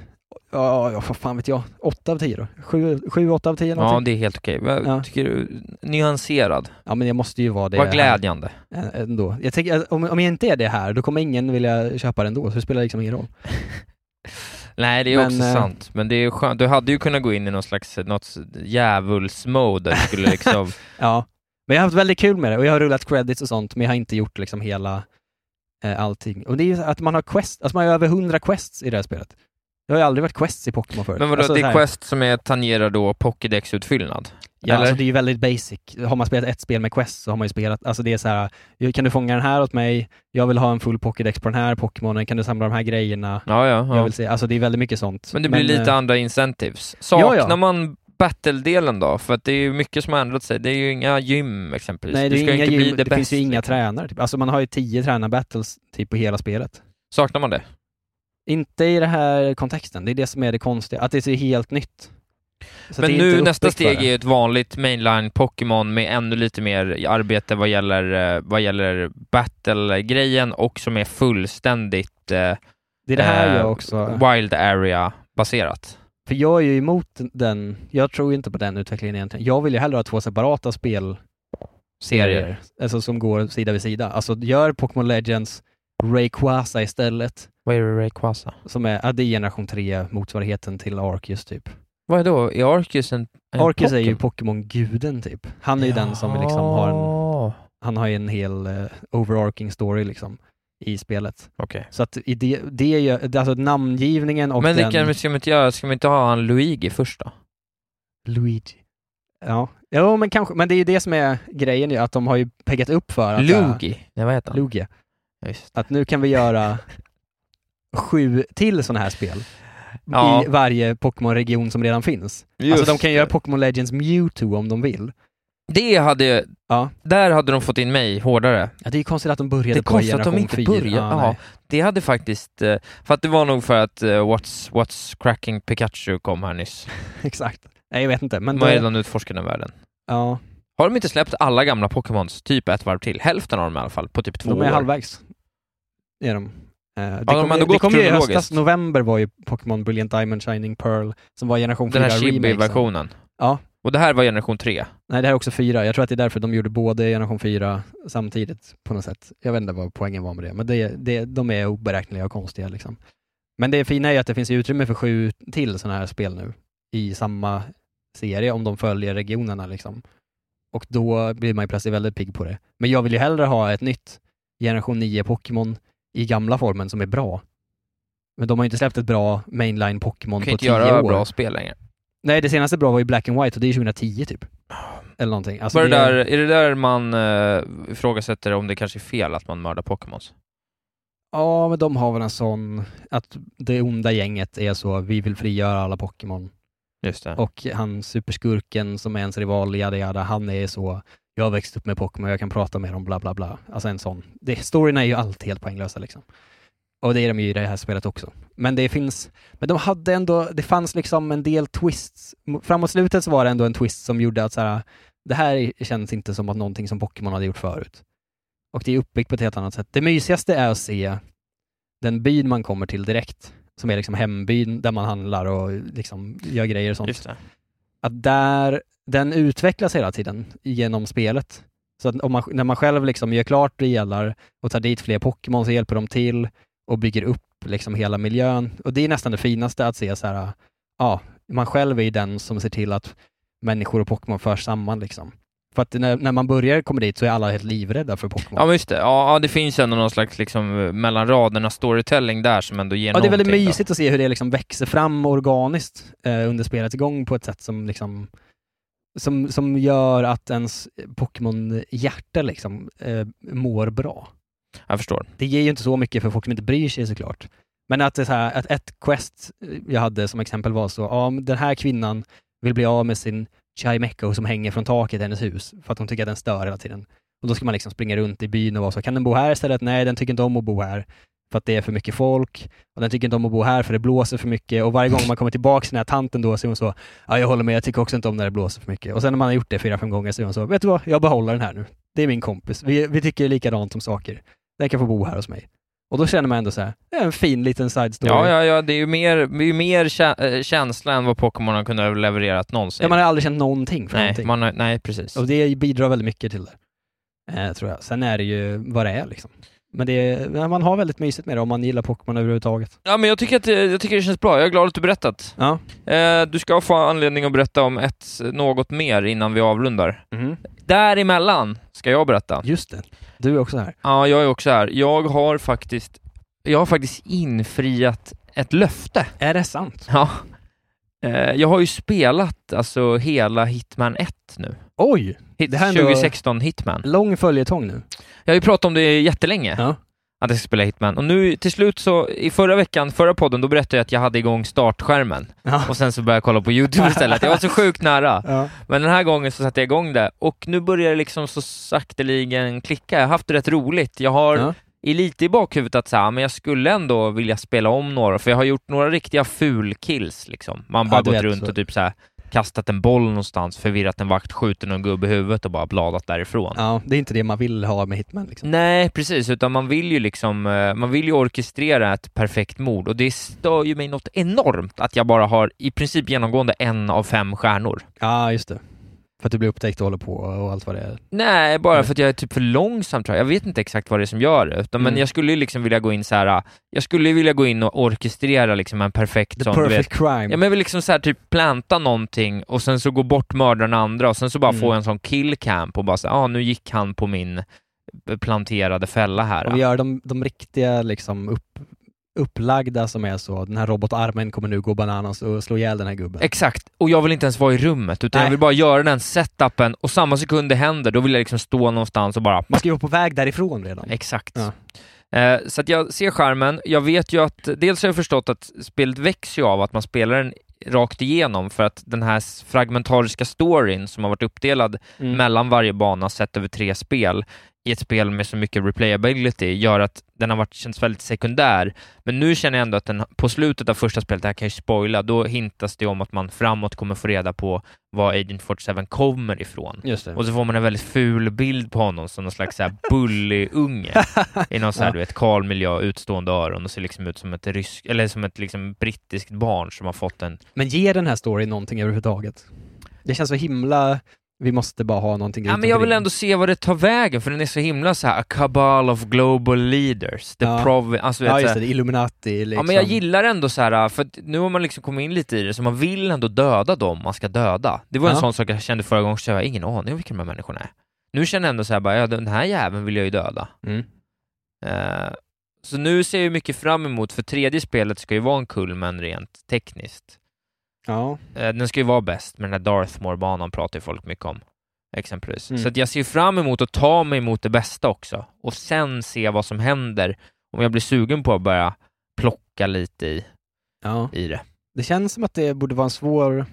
S1: Ja, ja, vad fan vet jag. 8 av 10 då? 7, 8 av 10 eller
S2: Ja,
S1: någonting.
S2: det är helt okej. Vad
S1: Ja.
S2: Tycker du? Nyanserad?
S1: Ja, men jag måste ju vara det.
S2: Vad glädjande.
S1: Ä- Ändå. Jag tänker, att om, om jag inte är det här, då kommer ingen vilja köpa det ändå, så det spelar liksom ingen roll.
S2: Nej, det är
S1: Men,
S2: också
S1: eh,
S2: sant. Men det är skönt. Du hade ju kunnat gå in i någon slags något djävulsmode där du skulle liksom...
S1: Ja. Men jag har haft väldigt kul med det och jag har rullat credits och sånt, men jag har inte gjort liksom hela eh, allting. Och det är ju att man har quest, alltså man har över 100 quests i det här spelet. Det har ju aldrig varit quests i Pokémon förut.
S2: Men vadå,
S1: alltså,
S2: det
S1: så
S2: är
S1: här-
S2: Quest som är tangerar då Pokédex-utfyllnad?
S1: Ja,
S2: eller?
S1: alltså det är ju väldigt basic. Har man spelat ett spel med Quest så har man ju spelat, alltså det är så här, kan du fånga den här åt mig? Jag vill ha en full Pokédex på den här Pokémonen, kan du samla de här grejerna?
S2: Ja, ja,
S1: Jag
S2: ja.
S1: vill se, alltså det är väldigt mycket sånt.
S2: Men det blir lite
S1: eh,
S2: andra incentives.
S1: ja,
S2: Saknar
S1: ja.
S2: man battle-delen då? För att det är ju mycket som har ändrat sig. Det är ju inga gym exempelvis.
S1: Nej,
S2: du
S1: det,
S2: ska ju
S1: är inga
S2: inte bli
S1: gym,
S2: det liksom.
S1: det finns ju
S2: bäst.
S1: inga tränare. Typ. Alltså man har ju tio tränarbattles typ på hela spelet.
S2: Saknar man det?
S1: Inte i den här kontexten, det är det som är det konstiga, att det är så helt nytt. Så
S2: Men
S1: det är
S2: nu
S1: inte
S2: nästa
S1: uppbyggt för
S2: steg är
S1: det.
S2: ju ett vanligt mainline Pokémon med ännu lite mer arbete vad gäller, eh, vad gäller battle-grejen och som är fullständigt eh,
S1: Det är det här
S2: eh,
S1: jag också...
S2: wild area-baserat.
S1: För jag är ju emot den, jag tror ju inte på den utvecklingen egentligen. Jag vill ju hellre ha två separata spelserier,
S2: Serier.
S1: alltså som går sida vid sida. Alltså gör Pokémon Legends Rayquaza istället,
S2: Vad är Rayquaza?
S1: som är, ja, det är generation 3-motsvarigheten till Arceus typ.
S2: Vad är då? Är Arceus en, en
S1: Arceus är ju
S2: Pokémon?
S1: Pokémon-guden typ. Han är ju den som liksom har en
S2: Ja.
S1: han har ju en hel eh, overarching story liksom i spelet.
S2: Okej.
S1: Så att i det, det är ju, det- alltså namngivningen och
S2: Men det
S1: den...
S2: kan, ska man inte göra, ska man inte ha han Luigi först då?
S1: Luigi. Ja, jo men kanske, men det är ju det som är grejen ju, att de har ju peggat upp för att...
S2: Luigi? Nej vad heter han?
S1: Lugia.
S2: Ja, just.
S1: Att nu kan vi göra sju till sådana här spel
S2: Ja.
S1: i varje Pokémon-region som redan finns. Alltså de
S2: Just
S1: kan göra Pokémon Legends Mewtwo om de vill.
S2: Det hade,
S1: Ja.
S2: där hade de fått in mig hårdare.
S1: Ja, det är ju konstigt att de började
S2: Det är
S1: på
S2: konstigt att de
S1: generation
S2: inte
S1: fyra.
S2: började.
S1: Ja,
S2: Ja,
S1: nej.
S2: det hade faktiskt, eh, för att det var nog för att eh, What's, What's Cracking Pikachu kom här nyss.
S1: Exakt. Nej, jag vet inte. Men
S2: De har
S1: det,
S2: redan utforskat den världen.
S1: ja.
S2: Har de inte släppt alla gamla Pokémons typ ett varv till? Hälften av dem i alla fall, på typ två
S1: De är
S2: år.
S1: halvvägs. Är de. Eh,
S2: de
S1: det
S2: har
S1: kom,
S2: ändå
S1: det
S2: gått
S1: kom ju i
S2: kronologiskt.
S1: höstas, november var ju Pokémon Brilliant Diamond Shining Pearl som var generation 4
S2: Den här
S1: remake. sen.
S2: Chibi-versionen.
S1: Ja.
S2: Och det här var generation tre.
S1: Nej, det här är också 4. Jag tror att det är därför de gjorde både generation 4 samtidigt på något sätt. Jag vet inte vad poängen var med det, men det, det, de är oberäkneliga och konstiga liksom. Men det fina är ju att det finns ju utrymme för sju till sådana här spel nu i samma serie om de följer regionerna liksom. Och då blir man ju plötsligt väldigt pigg på det. Men jag vill ju hellre ha ett nytt generation 9 Pokémon i gamla formen som är bra. Men de har ju inte släppt ett bra mainline Pokémon
S2: De
S1: på
S2: kan
S1: 10
S2: inte göra
S1: år.
S2: bra spel längre.
S1: Nej, det senaste bra var ju Black and White och det är 2010 typ. Eller någonting. Alltså,
S2: var det
S1: det är-
S2: där, är det där man uh, ifrågasätter om det kanske är fel att man mördar Pokémons?
S1: Ja, men de har väl en sån att det onda gänget är så, vi vill frigöra alla Pokémon.
S2: Just det.
S1: Och han superskurken som är ens rival, yada yada, han är så, jag har växt upp med Pokémon, jag kan prata med dem, bla bla bla. Alltså en sån. Det, storyn är ju alltid helt poänglösa liksom. Och det är de ju i det här spelet också. Men det finns, men de hade ändå, det fanns liksom en del twists. M- Framåt slutet så var det ändå en twist som gjorde att så här, det här känns inte som att någonting som Pokémon hade gjort förut. Och det är uppbyggt på ett helt annat sätt. Det mysigaste är att se den byn man kommer till direkt, som är liksom hembyn där man handlar och liksom gör grejer och sånt
S2: Just det.
S1: att där, den utvecklas hela tiden genom spelet. Så att om man, när man själv liksom gör klart delar och tar dit fler Pokémon så hjälper de till och bygger upp liksom hela miljön. Och det är nästan det finaste att se så här, ja, man själv är ju den som ser till att människor och Pokémon förs samman liksom. För att när, när man börjar komma dit så är alla helt livrädda för Pokémon.
S2: Ja, men just det. Ja, ja, det finns ändå någon slags liksom, eh, mellan raderna storytelling där som ändå ger
S1: Ja, det är väldigt
S2: någonting då.
S1: mysigt att se hur det liksom växer fram organiskt eh, under spelets gång på ett sätt som liksom som, som gör att ens Pokémon-hjärta liksom, eh, mår bra.
S2: Jag förstår.
S1: Det ger ju inte så mycket för folk som inte bryr sig såklart. Men att, det är så här, att ett quest eh, jag hade som exempel var så, ja, men den här kvinnan vill bli av med sin Chimeco som hänger från taket i hennes hus för att hon tycker att den stör hela tiden. Och då ska man liksom springa runt i byn och vara så, kan den bo här istället? Nej, den tycker inte om att bo här för att det är för mycket folk och den tycker inte om att bo här för det blåser för mycket och varje gång man kommer tillbaka till den här tanten då så är hon så, ja jag håller med, jag tycker också inte om när det blåser för mycket. Och sen när man har gjort det fyra, fem gånger så är hon så, vet du vad, jag behåller den här nu. Det är min kompis, vi, vi tycker likadant om saker. Den kan få bo här hos mig. Och då känner man ändå så här, det är en fin liten side story.
S2: Ja, ja, ja, det är ju mer, det är ju mer kä- eh, känsla än vad Pokémon har kunnat leverera någonsin.
S1: Ja, man har aldrig känt någonting för
S2: nej,
S1: någonting.
S2: man har, nej, precis.
S1: Och det bidrar väldigt mycket till det, eh, tror jag. Sen är det ju vad det är liksom. Men det är, men man har väldigt mysigt med det om man gillar Pokémon överhuvudtaget.
S2: Ja, men jag tycker, att, det- jag tycker det känns bra. Jag är glad att du berättat.
S1: Ja.
S2: Eh, du ska få anledning att berätta om ett, eh, något mer innan vi avrundar.
S1: Mm.
S2: Däremellan ska jag berätta.
S1: Just det. Du är också här.
S2: Ja, jag är också här. Jag har faktiskt, jag har faktiskt infriat ett löfte.
S1: Är det sant?
S2: Ja. Eh, Jag har ju spelat alltså hela Hitman 1 nu.
S1: Oj!
S2: Hit,
S1: Det här är ändå-
S2: 2016 Hitman.
S1: Lång följetong nu.
S2: Jag har ju pratat om det jättelänge.
S1: Ja.
S2: Att jag ska spela Hitman. Och nu till slut så, i förra veckan, förra podden, då berättade jag att jag hade igång startskärmen.
S1: Ja.
S2: Och sen så började jag kolla på YouTube istället. Jag var så sjukt nära.
S1: Ja.
S2: Men den här gången så satte jag igång det. Och nu börjar det liksom så sakteligen klicka. Jag har haft det rätt roligt. Jag har
S1: Ja.
S2: i lite i bakhuvudet att så här, men jag skulle ändå vilja spela om några, för jag har gjort några riktiga fulkills liksom. Man
S1: Ja,
S2: bara
S1: du
S2: gått
S1: vet,
S2: runt
S1: så.
S2: och typ så här kastat en boll någonstans, förvirrat en vakt, skjutit någon gubbe i huvudet och bara bladat därifrån.
S1: Ja, det är inte det man vill ha med Hitman liksom.
S2: Nej, precis, utan man vill ju liksom, eh, man vill ju orkestrera ett perfekt mord och det stör ju mig något enormt att jag bara har i princip genomgående en av fem stjärnor.
S1: Ja, just det. För att du blir upptäckt och håller på och allt vad det är. Mm.
S2: Nej, bara för att jag är typ för långsam tror jag. Jag vet inte exakt vad det är som gör det, utan, men
S1: Mm.
S2: jag skulle ju liksom vilja gå in så här. jag skulle ju vilja gå in och orkestrera liksom en perfekt
S1: The
S2: sån, du
S1: perfect
S2: vet.
S1: crime.
S2: Ja men jag vill liksom så här, typ planta någonting och sen så gå bort mördaren andra och sen så bara
S1: Mm.
S2: få en sån kill camp och bara säga, ah, nu gick han på min planterade fälla här.
S1: Om vi gör de, de riktiga liksom upp, upplagda som är så, den här robotarmen kommer nu gå bananas och slå ihjäl den här gubben.
S2: Exakt, och jag vill inte ens vara i rummet utan
S1: Nej.
S2: jag vill bara göra den setupen och samma sekund det händer då vill jag liksom stå någonstans och bara
S1: Man ska ju vara på väg därifrån redan.
S2: Exakt. Eh, Så att jag ser skärmen. Jag vet ju att, dels har jag förstått att spelet växer ju av att man spelar den rakt igenom för att den här s- fragmentariska storyn som har varit uppdelad
S1: Mm.
S2: mellan varje bana sett över tre spel i ett spel med så mycket replayability gör att den har varit, känts väldigt sekundär. Men nu känner jag ändå att den på slutet av första spelet, det här kan jag ju spoila, då hintas det om att man framåt kommer få reda på var Agent 47 kommer ifrån.
S1: Just det.
S2: Och så får man en väldigt ful bild på honom som någon slags så här bullig unge i någon så här,
S1: Ja.
S2: du vet, kal miljö, utstående öron och ser liksom ut som ett, rysk, eller som ett liksom, brittiskt barn som har fått en...
S1: Men ger den här storyn någonting överhuvudtaget? Det känns så himla, vi måste bara ha någonting
S2: Ja,
S1: runt
S2: men jag vill
S1: omkring.
S2: ändå se vad det tar vägen, för den är så himla så här, a cabal of global leaders, the
S1: Ja.
S2: provi- alltså, du vet,
S1: Ja just
S2: så
S1: det,
S2: här-
S1: Illuminati liksom.
S2: Ja men jag gillar ändå så här för att nu har man liksom kommit in lite i det, så man vill ändå döda dem man ska döda. Det var en
S1: Ja.
S2: sån sak jag kände förra gången, så jag har ingen aning om vilka de här människorna är. Nu känner jag ändå så här, bara, ja, den här jäveln vill jag ju döda.
S1: Mm.
S2: Eh, så nu ser jag ju mycket fram emot, för tredje spelet ska ju vara en kulmen rent tekniskt.
S1: Ja.
S2: Eh, den ska ju vara bäst, men den där Darthmore-banan pratar ju folk mycket om, exempelvis.
S1: Mm.
S2: Så att jag ser fram emot att ta mig emot det bästa också, och sen se vad som händer om jag blir sugen på att börja plocka lite i,
S1: ja.
S2: i det.
S1: Det känns som att det borde vara en svår,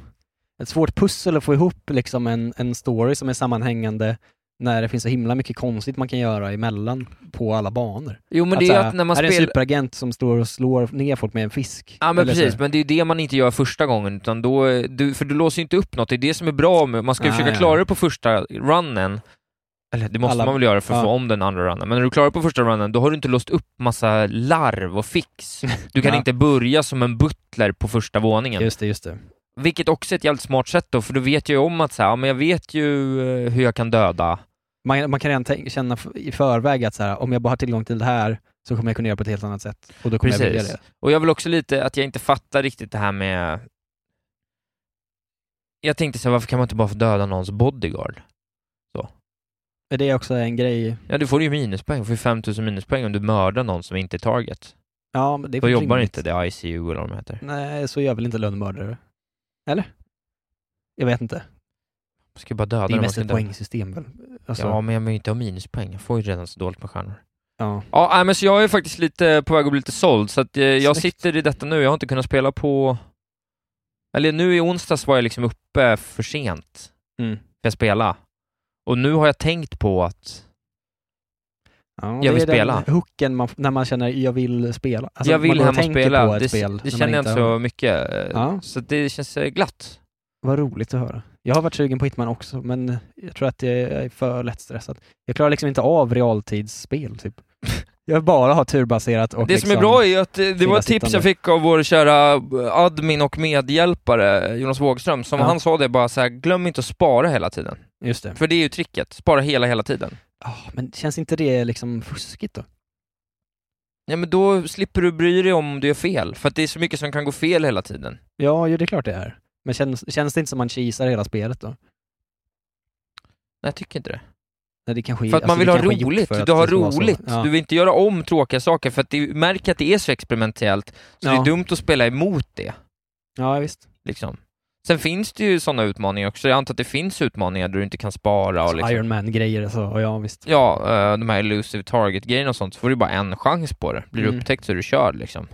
S1: ett svårt pussel att få ihop liksom en, en story som är sammanhängande när det finns så himla mycket konstigt man kan göra emellan på alla banor.
S2: Jo men
S1: Att
S2: det är
S1: så
S2: ju
S1: här,
S2: att när man
S1: Alltså, är det en
S2: spelar...
S1: superagent som står och slår ner folk med en fisk?
S2: Ja men
S1: Eller så
S2: precis,
S1: här.
S2: men det är ju det man inte gör första gången, utan då, är- du, för du låser ju inte upp något, det är det som är bra med, man ska ju
S1: Ah,
S2: försöka
S1: ja.
S2: klara det på första runnen, eller det måste
S1: Alla-
S2: man väl göra för att
S1: ja.
S2: få om den andra runnen, men när du klarar det på första runnen, då har du inte låst upp massa larv och fix. Du kan
S1: Ja.
S2: inte börja som en butler på första våningen.
S1: Just det, just det.
S2: Vilket också är ett jävligt smart sätt då, för då vet jag ju om att så här, ja, men jag vet ju eh, hur jag kan döda.
S1: Man, man kan redan tänk, känna f- i förväg att så här, om jag bara har tillgång till det här så kommer jag kunna göra på ett helt annat sätt. Och då kommer jag vilja det.
S2: Och jag vill också lite att jag inte fattar riktigt det här med... Jag tänkte så här, varför kan man inte bara få döda någons bodyguard? Så.
S1: Är det också en grej?
S2: Ja, du får ju minuspoäng. Du får ju 5000 minuspoäng om du mördar någon som inte är target.
S1: Ja, men det är
S2: Då
S1: väl
S2: jobbar
S1: rimligt.
S2: inte det ICU eller vad de heter.
S1: Nej, så gör väl inte lönnmördare? Eller? Jag vet inte.
S2: Man ska ju bara döda
S1: Det är
S2: dem, man
S1: mest
S2: ska
S1: ett
S2: inte-
S1: poängsystem väl? Alltså,
S2: Ja, men jag vill ju inte ha minuspoäng. Jag får ju redan så dåligt med stjärnor.
S1: ja.
S2: Ja, nej, men så jag är faktiskt lite på väg att bli lite såld, så att eh, jag
S1: Snyggt.
S2: sitter i detta nu. Jag har inte kunnat spela på... Eller nu i onsdags var jag liksom uppe för sent
S1: Mm.
S2: för att spela. Och nu har jag tänkt på att
S1: Ja,
S2: Jag
S1: det
S2: vill
S1: är den
S2: spela.
S1: hooken man, f- när man känner jag vill spela. Alltså,
S2: jag vill
S1: man går
S2: hem och
S1: tänker
S2: spela.
S1: På ett
S2: Det,
S1: spel
S2: det
S1: när man
S2: känner jag inte
S1: har-
S2: så mycket. eh,
S1: Ja.
S2: Så det känns eh, glatt.
S1: Vad roligt att höra. Jag har varit sugen på Hitman också, men jag tror att jag är för lättstressad. Jag klarar liksom inte av realtidsspel, typ. Jag vill bara ha turbaserat och
S2: det
S1: liksom...
S2: som är bra är ju att eh, det var ett tips
S1: stillasittande.
S2: jag fick av vår kära eh, admin och medhjälpare Jonas Wågström, som
S1: Ja.
S2: han sa det bara så här, glöm inte att spara hela tiden.
S1: Just det.
S2: För det är ju tricket, spara hela, hela tiden.
S1: Ah, men känns inte det liksom fuskigt då?
S2: Ja men då slipper du bry dig om du gör fel, för att det är så mycket som kan gå fel hela tiden.
S1: Ja, ju det är klart det är. Men känns, känns det inte som man cheesar hela spelet då?
S2: Nej, jag tycker inte det.
S1: Nej, det kanske, är-
S2: För att man
S1: alltså,
S2: vill
S1: det
S2: ha
S1: kanske är gjort
S2: roligt,
S1: för att
S2: du har
S1: det ska vara så.
S2: roligt.
S1: Ja.
S2: Du vill inte göra om tråkiga saker, för att du märker att det är så experimentellt, så det
S1: Ja.
S2: är dumt att spela emot det.
S1: ja, visst.
S2: Liksom. Sen finns det ju sådana utmaningar också, jag antar att det finns utmaningar där du inte kan spara och liksom.
S1: Iron Man-grejer och så, och Alltså, ja visst.
S2: ja, eh, de här elusive target-grejerna och sånt, så får du bara en chans på det. Blir du
S1: Mm.
S2: upptäckt så är du körd liksom.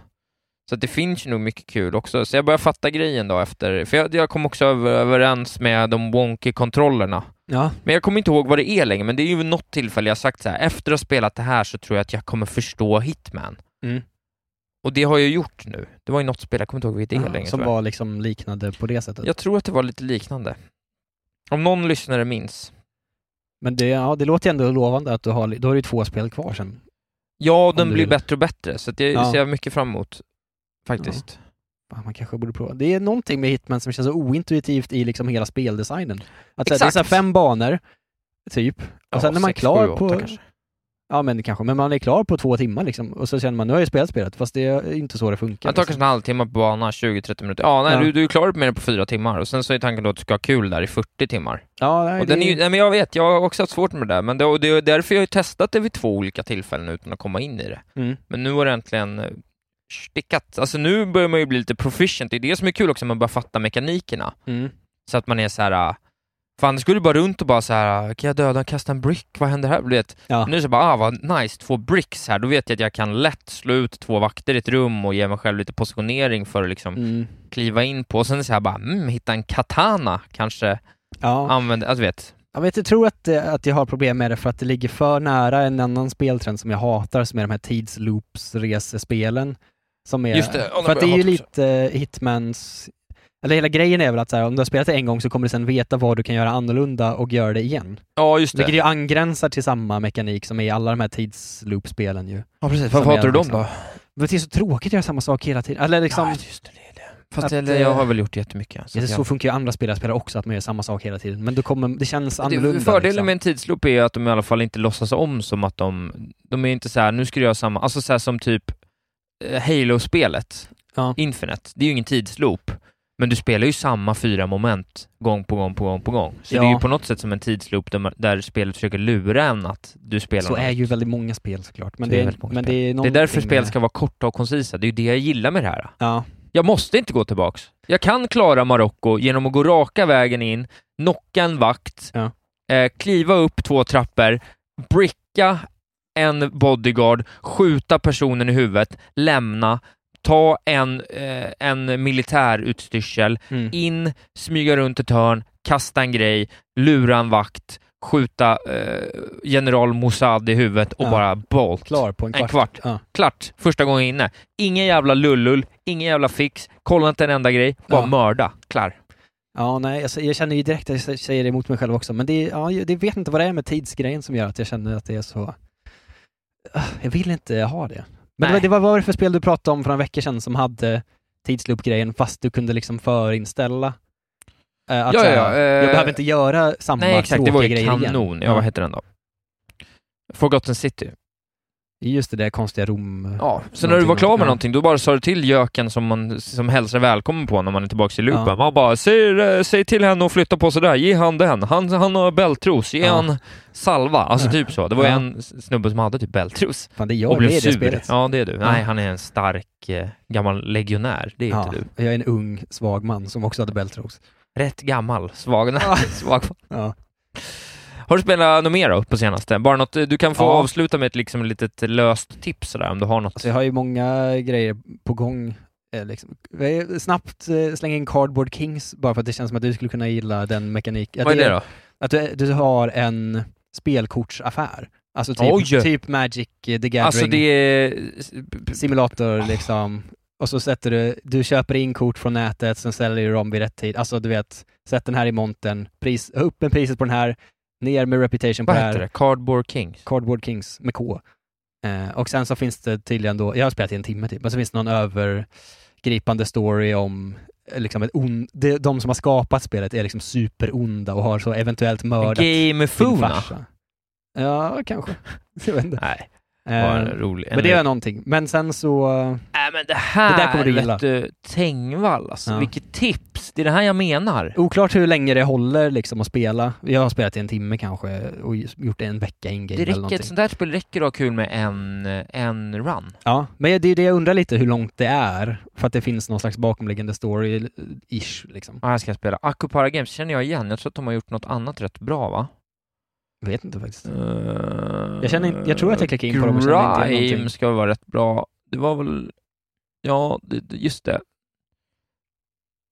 S2: Så att det finns ju nog mycket kul också. Så jag börjar fatta grejen då efter, för jag, jag kom också över, överens med de wonky kontrollerna.
S1: Ja,
S2: Men jag kommer inte ihåg vad det är längre, men det är ju vid något tillfälle jag har sagt så här, efter att ha spelat det här så tror jag att jag kommer förstå Hitman.
S1: Mm.
S2: Och det har jag gjort nu. Det var ju något spel, jag kommer inte ihåg vilket det är längre.
S1: som
S2: tyvärr.
S1: var liksom liknande på det sättet.
S2: Jag tror att det var lite liknande. Om någon lyssnare minns.
S1: Men det, ja, det låter ju ändå lovande att du har, då har du ju två spel kvar sen.
S2: Ja, och
S1: Om
S2: den
S1: du
S2: blir
S1: vill.
S2: bättre och bättre, så att det
S1: Ja.
S2: ser jag mycket fram emot. Faktiskt.
S1: Fan, Man kanske borde prova. Det är någonting med Hitman som känns så ointuitivt i liksom hela speldesignen. Att så här, det är
S2: Exakt.
S1: så här fem banor, typ. Och
S2: Ja,
S1: sen när man är
S2: sex,
S1: klar
S2: sju, åtta
S1: på...
S2: kanske.
S1: Ja men kanske, men man är klar på två timmar liksom. Och så känner man, nu har jag ju spelat spelet, fast det är inte så det funkar.
S2: Man tar
S1: liksom.
S2: kanske en halvtimme på banan, 20-30 minuter. Ja, nej,
S1: Ja.
S2: Du, du är klar med det på fyra timmar och sen så är tanken då att du ska ha kul där i 40 timmar.
S1: Ja, nej,
S2: och den
S1: det-
S2: är ju, nej, men jag vet, jag har också haft svårt med det där, men det, och det är därför jag har ju testat det vid två olika tillfällen utan att komma in i det.
S1: Mm.
S2: Men nu har det äntligen eh, stickat. Alltså nu börjar man ju bli lite proficient, det är det som är kul också, man börjar fatta mekanikerna.
S1: Mm.
S2: Så att man är så här. äh, För annars skulle du bara runt och bara så här. eh, kan jag döda, kasta en brick, vad händer här? Du vet.
S1: Ja.
S2: Nu är det så bara, ah vad nice, två bricks här, då vet jag att jag kan lätt slå ut två vakter i ett rum och ge mig själv lite positionering för att liksom
S1: Mm.
S2: kliva in på. Och sen är det så här bara, mm, hitta en katana kanske,
S1: Ja.
S2: använda, alltså du vet.
S1: Jag vet, jag tror att, eh, att jag har problem med det för att det ligger för nära en annan speltrend som jag hatar, som är de här tidsloops-resespelen. Som är,
S2: Just det, ja, de
S1: för att det är
S2: börjar
S1: ju
S2: hata
S1: lite eh, Hitmans... Eller hela grejen är väl att så här, om du har spelat det en gång så kommer du sen veta vad du kan göra annorlunda och göra det igen.
S2: Ja, just
S1: Vilket ju angränsar till samma mekanik som är i alla de här tidsloop-spelen ju.
S2: Ja, precis.
S1: Som
S2: Varför hatar du
S1: är
S2: dem
S1: liksom-
S2: då?
S1: Men det är så tråkigt att göra samma sak hela tiden. Eller liksom,
S2: Ja, just det, det, är det. Fast
S1: Att,
S2: eller, jag
S1: eh,
S2: har väl gjort jättemycket. Så
S1: det är
S2: att
S1: så
S2: jag...
S1: funkar ju andra spelare spelar också, att man gör samma sak hela tiden. Men då kommer, det känns
S2: Det-
S1: annorlunda.
S2: fördelen
S1: liksom.
S2: med en tidsloop är att de i alla fall inte låtsas om som att de, de är inte så här, nu ska du göra samma, alltså så här som typ eh, Halo-spelet,
S1: Ja.
S2: Infinite, det är ju ingen tidsloop, men du spelar ju samma fyra moment gång på gång på gång på gång. Så
S1: Ja.
S2: det är ju på något sätt som en tidsloop där, man- där spelet försöker lura en att du spelar
S1: Så
S2: något.
S1: är ju väldigt många spel såklart. Men
S2: Så är
S1: det, är,
S2: väldigt många
S1: men
S2: spel.
S1: det, är,
S2: det är därför
S1: någonting
S2: spel
S1: med-
S2: ska vara korta och koncisa, det är ju det jag gillar med det här.
S1: Ja,
S2: Jag måste inte gå tillbaks. Jag kan klara Marocko genom att gå raka vägen in, knocka en vakt,
S1: Ja.
S2: eh, kliva upp två trappor, bricka en bodyguard, skjuta personen i huvudet, lämna, ta en, eh, en militärutstyrsel,
S1: mm.
S2: in, smyga runt ett hörn, kasta en grej, lura en vakt, skjuta eh, general Mossad i huvudet och
S1: Ja.
S2: bara bolt.
S1: klar på en kvart.
S2: En kvart.
S1: Ja.
S2: Klart, första gången inne. Ingen jävla lullull, ingen jävla fix, kolla inte en enda grej, bara
S1: Ja.
S2: mörda. Klar.
S1: Ja, nej, alltså, jag känner ju direkt att jag säger det emot mig själv också, men det, är- ja, jag det vet inte vad det är med tidsgrejen som gör att jag känner att det är så... Ah, Jag vill inte ha det. Men det var,
S2: Nej.
S1: det var, vad var det för spel du pratade om för några veckor sedan som hade tidsloop-grejen fast du kunde liksom förinställa? eh, att
S2: Ja,
S1: så här,
S2: ja, ja, eh,
S1: jag behöver inte göra samma
S2: Nej exakt, det
S1: tråkiga
S2: var ju
S1: grejer igen.
S2: kanon. Ja, vad heter den då? Forgotten City.
S6: Just det där konstiga Rom...
S2: Ja, så när du var klar med någonting, då bara sa du till göken som man som hälsar välkommen på när man är tillbaka i loopen.
S6: Ja.
S2: Man bara, säg, eh, säg till henne att flytta på sig där, ge han den. Han, han har bältros, ge
S6: Ja.
S2: han salva. Alltså typ så. Det var ju
S6: Ja.
S2: en snubbe som hade typ bältros.
S6: Fan, det är jag
S2: och blev
S6: med i det
S2: sur.
S6: spelet.
S2: Ja, det är du.
S6: Ja.
S2: Nej, han är en stark eh, gammal legionär. Det är
S6: Ja,
S2: inte du.
S6: jag är en ung, svag man som också hade bältros.
S2: Rätt gammal, svag. svag.
S6: Ja.
S2: Har du spelat något mer då, på senaste? Bara något, eh, du kan få
S6: Ja.
S2: avsluta med ett liksom, litet löst tips sådär, om du har något.
S6: Alltså jag har ju många grejer på gång. eh, Liksom. Jag är- Snabbt eh, slänga in Cardboard Kings bara för att det känns som att du skulle kunna gilla den mekaniken.
S2: Vad är det då?
S6: Att du, du har en spelkortsaffär. Alltså
S2: Oj!
S6: typ, typ Magic eh, the Gathering.
S2: Alltså det är...
S6: simulator liksom. Och så sätter du, du köper in kort från nätet, sen säljer du dem vid rätt tid. Alltså du vet, sätt den här i montern, pris, upp med priset på den här, ner med reputation på
S2: Vad
S6: den
S2: heter
S6: här.
S2: det? Cardboard Kings?
S6: Cardboard Kings med K. Eh, och sen så finns det tydligen då, jag har spelat i en timme typ, men så finns det någon övergripande story om eh, liksom ett on, de, de som har skapat spelet är liksom superonda och har så eventuellt mördat sin
S2: Gamefuna?
S6: farsa. Ja, kanske. Jag vet inte.
S2: Nej,
S6: Eh,
S2: var en rolig.
S6: men det är någonting. Men sen så...
S2: Nej Äh, men det här,
S6: Det där kommer du gilla.
S2: vet du, Tengvall alltså.
S6: Ja.
S2: Vilket tips! Det är det här jag menar.
S6: Oklart hur länge det håller liksom att spela. Jag har spelat i en timme kanske och gjort det en vecka in-game
S2: Det
S6: eller
S2: räcker,
S6: någonting.
S2: ett sånt här spel räcker att ha kul med en, en run.
S6: Ja, men det är det jag undrar lite hur långt det är. För att det finns någon slags bakomliggande story-ish liksom.
S2: Ja, här ska jag spela. Acupara Games känner jag igen. Jag tror att de har gjort något annat rätt bra va?
S6: Vet inte faktiskt.
S2: Jag,
S6: känner inte- jag tror att jag klickade in på dem och kände inte igen någonting.
S2: Eh, Grime ska vara rätt bra. Det var väl... Ja, det- det- just det.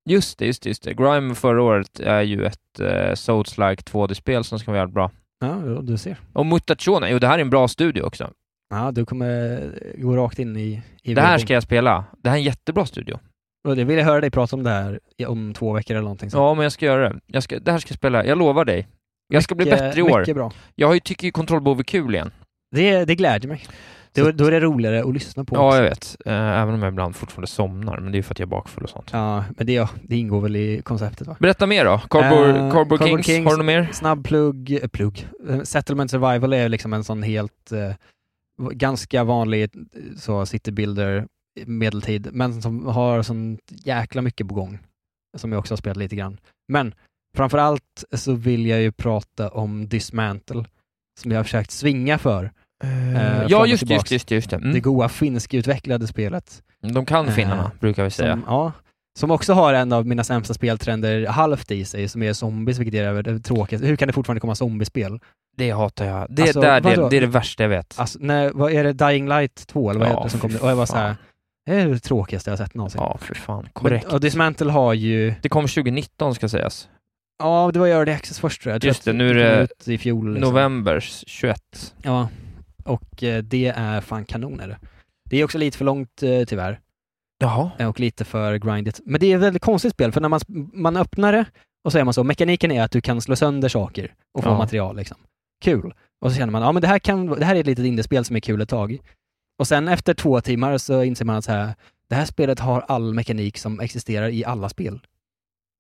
S2: Just det, just det, just det. Grime förra året är ju ett uh, Souls-like 2D-spel som ska vara jävligt bra.
S6: Ja, ja, du ser.
S2: Och Mutatione, jo det här är en bra studio också.
S6: Ja, du kommer gå rakt in i... i
S2: Det här ska jag spela. Det här är en jättebra studio.
S6: jag... Jag ville höra dig prata om det här i- om två veckor eller någonting.
S2: Ja, men jag ska göra det. Jag ska, det här ska jag spela. Jag lovar dig. Jag ska bli
S6: Mycket-
S2: bättre i år.
S6: Mycket bra.
S2: Jag har ju, tycker ju kontrollbehov är kul igen.
S6: Eh, Det, det gläder mig.
S2: Så-
S6: Då, då är det roligare att lyssna på
S2: Ja,
S6: också.
S2: jag vet. Eh, även om jag ibland fortfarande somnar, men det är ju för att jag är bakfull och sånt.
S6: Ja, men det, ja, det ingår väl i konceptet va?
S2: Berätta mer då. Cardboard,
S6: Eh,
S2: Cardboard, Kings. har du något mer?
S6: Snabb plugg, eh, plugg. Eh, Settlement survival är liksom en sån helt, eh, v- ganska vanlig eh, så city builder eh, medeltid, men som har sånt jäkla mycket på gång. Som jag också har spelat lite grann. Men framförallt så vill jag ju prata om Dismantle, som jag har försökt svinga för. eh, fram
S2: ja,
S6: och
S2: just det, just
S6: tillbaks.
S2: det, just det, just det.
S6: Det
S2: Mm.
S6: goa finskutvecklade spelet.
S2: De kan
S6: Eh,
S2: finnarna, brukar vi säga.
S6: Som, ja, som också har en av mina sämsta speltrender halvt i sig, som är zombies, vilket är det tråkigaste. Hur kan det fortfarande komma zombiespel?
S2: Det hatar jag. Det,
S6: Alltså,
S2: där, det,
S6: vadå?
S2: det är det värsta jag vet.
S6: Alltså, när, vad är det Dying Light 2, eller vad
S2: Ja,
S6: heter det som
S2: fy
S6: kom? Och jag var
S2: fan.
S6: så här, det är det tråkigaste jag har sett någonsin.
S2: Ja, för fan. Korrekt.
S6: Men, och Dismantle har ju,
S2: Det kom 2019 ska sägas.
S6: ja det var Early Access först tror jag. jag. tror
S2: Just
S6: att
S2: det, nu är
S6: kom
S2: det
S6: ut i fjol. Liksom.
S2: November 21.
S6: Ja, och eh, det är fan kanon är det. Det är också lite för långt eh, tyvärr.
S2: Jaha.
S6: Eh, och lite för grindigt. Men det är ett väldigt konstigt spel, för när man, man öppnar det och så är man så, mekaniken är att du kan slå sönder saker och få
S2: Ja.
S6: material. Liksom. Kul. Och så känner man, ja men det här, kan, det här är ett litet indiespel som är kul ett tag. Och sen efter två timmar så inser man att så här, det här spelet har all mekanik som existerar i alla spel.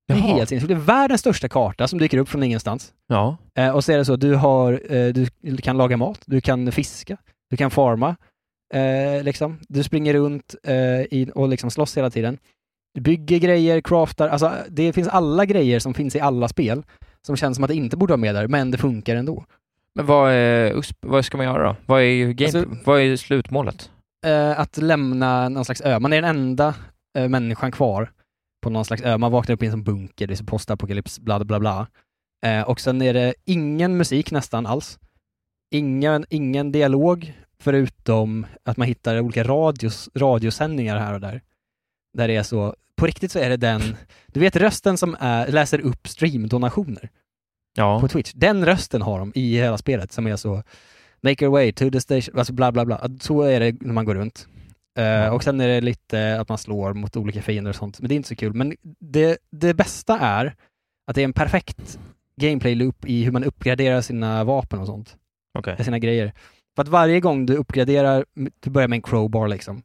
S6: Det är
S2: Jaha.
S6: helt sinnessjukt. Det är världens största karta som dyker upp från ingenstans.
S2: Ja.
S6: Eh, och så är det så, du, har, eh, du kan laga mat, du kan fiska, du kan farma. Eh, liksom. Du springer runt eh, i, och liksom slåss hela tiden. Du bygger grejer, craftar, alltså det finns alla grejer som finns i alla spel som känns som att det inte borde vara med där, men det funkar ändå.
S2: Men vad, är, USP, vad ska man göra då? Vad är, game,
S6: Alltså-
S2: vad är slutmålet?
S6: Eh, att lämna någon slags ö, man är den enda eh, människan kvar på någon slags ö. Man vaknar upp i en sån bunker, det är så postapokalyps, bla bla bla. Eh, och sen är det ingen musik nästan alls. Ingen, ingen dialog, förutom att man hittar olika radios, radiosändningar här och där. Där det är så, på riktigt så är det den, du vet rösten som är, läser upp streamdonationer
S2: Ja.
S6: på Twitch. Den rösten har de i hela spelet som är så Make your way to the station, alltså bla bla bla. Så är det när man går runt. Eh,
S2: Mm.
S6: och sen är det lite att man slår mot olika fiender och sånt, men det är inte så kul. Men det, det bästa är att det är en perfekt gameplay-loop i hur man uppgraderar sina vapen och sånt
S2: Okej.
S6: sina grejer. För att varje gång du uppgraderar, du börjar med en crowbar liksom.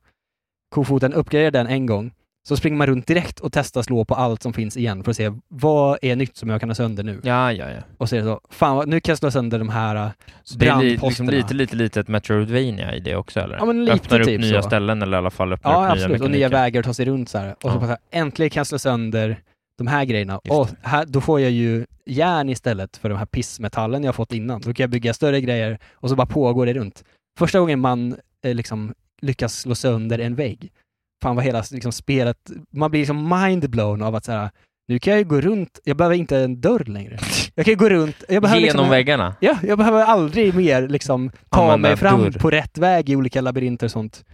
S6: Kofoten uppgraderar den en gång,
S1: Så springer man runt direkt och testar slå på allt som finns igen för att se vad är nytt som jag kan ha sönder nu.
S2: Ja, ja, ja.
S1: Och så är det så, fan vad- nu kan jag slå sönder de här äh,
S2: Så det är li- liksom
S1: brandposterna.
S2: lite, lite, lite ett Metroidvania i det också eller?
S1: Ja, men lite
S2: öppnar upp
S1: typ
S2: nya
S1: så.
S2: ställen eller i alla fall öppnar
S1: ja,
S2: upp
S1: absolut.
S2: nya
S1: och nya
S2: mekaniker.
S1: vägar att ta sig runt så här. Och så
S2: Ja.
S1: bara, så här, äntligen kan jag slå sönder de här grejerna. Och här, då får jag ju järn istället för de här pissmetallen jag har fått innan. Då kan jag bygga större grejer och så bara pågår det runt. Första gången man eh, liksom lyckas slå sönder en vägg, fan vad hela liksom, spelet, man blir liksom mindblown av att så här, nu kan jag ju gå runt, jag behöver inte en dörr längre. Jag kan ju gå runt, jag behöver
S2: Genom
S1: liksom,
S2: väggarna?
S1: Ja, jag behöver aldrig mer liksom ta
S2: Använda
S1: mig fram
S2: dörr.
S1: på rätt väg i olika labyrinter och sånt.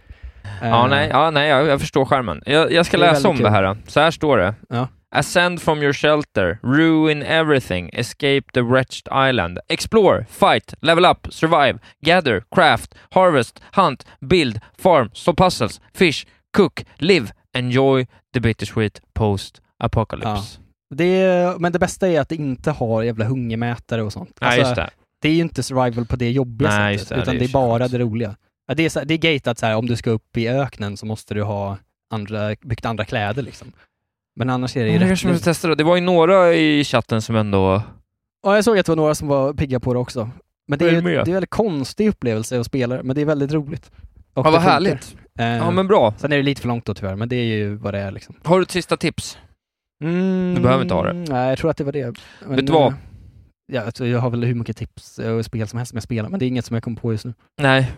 S2: Ja,
S1: Eh,
S2: nej, ja, nej jag, jag förstår skärmen. Jag, jag ska
S1: Det är
S2: läsa om
S1: väldigt
S2: det
S1: kul.
S2: här. Så här står det.
S1: Ja.
S2: Ascend from your shelter, ruin everything, escape the wretched island, explore, fight, level up, survive, gather, craft, harvest, hunt, build, farm, solve puzzles, fish, cook, live, enjoy the bittersweet post-apocalypse.
S1: Det är, men det bästa är att det inte har jävla hungermätare och sånt.
S2: Ja,
S1: Alltså,
S2: just det.
S1: det är ju inte survival på det jobbiga
S2: Nej, just det.
S1: sättet,
S2: Det
S1: utan
S2: är
S1: det är
S2: ju
S1: bara det roliga. Ja, det, är, så- det är gatat så här, om du ska upp i öknen så måste du ha andra, byggt andra kläder liksom. Men annars är det ju
S2: Ja, det
S1: rätt
S2: kanske man
S1: lugnt.
S2: ska testa då. Det var ju några i chatten som ändå...
S1: Ja, jag såg att det var några som var pigga på det också. Men det är,
S2: Vad är det
S1: ju- det
S2: med?
S1: är en väldigt konstig upplevelse att spela men det är väldigt roligt. Och
S2: Ja,
S1: det
S2: vad
S1: funkar.
S2: härligt.
S1: Eh,
S2: Ja, men bra.
S1: Sen är det lite för långt då tyvärr, men det är ju vad det är liksom.
S2: Har du ett sista tips?
S1: Mm,
S2: Du behöver inte ha det.
S1: Nej, jag tror att det var det. Men,
S2: Vet du vad?
S1: eh, Ja, alltså, jag har väl hur mycket tips eh, och spel som helst som jag spelar, men det är inget som jag kommer på just nu.
S2: Nej.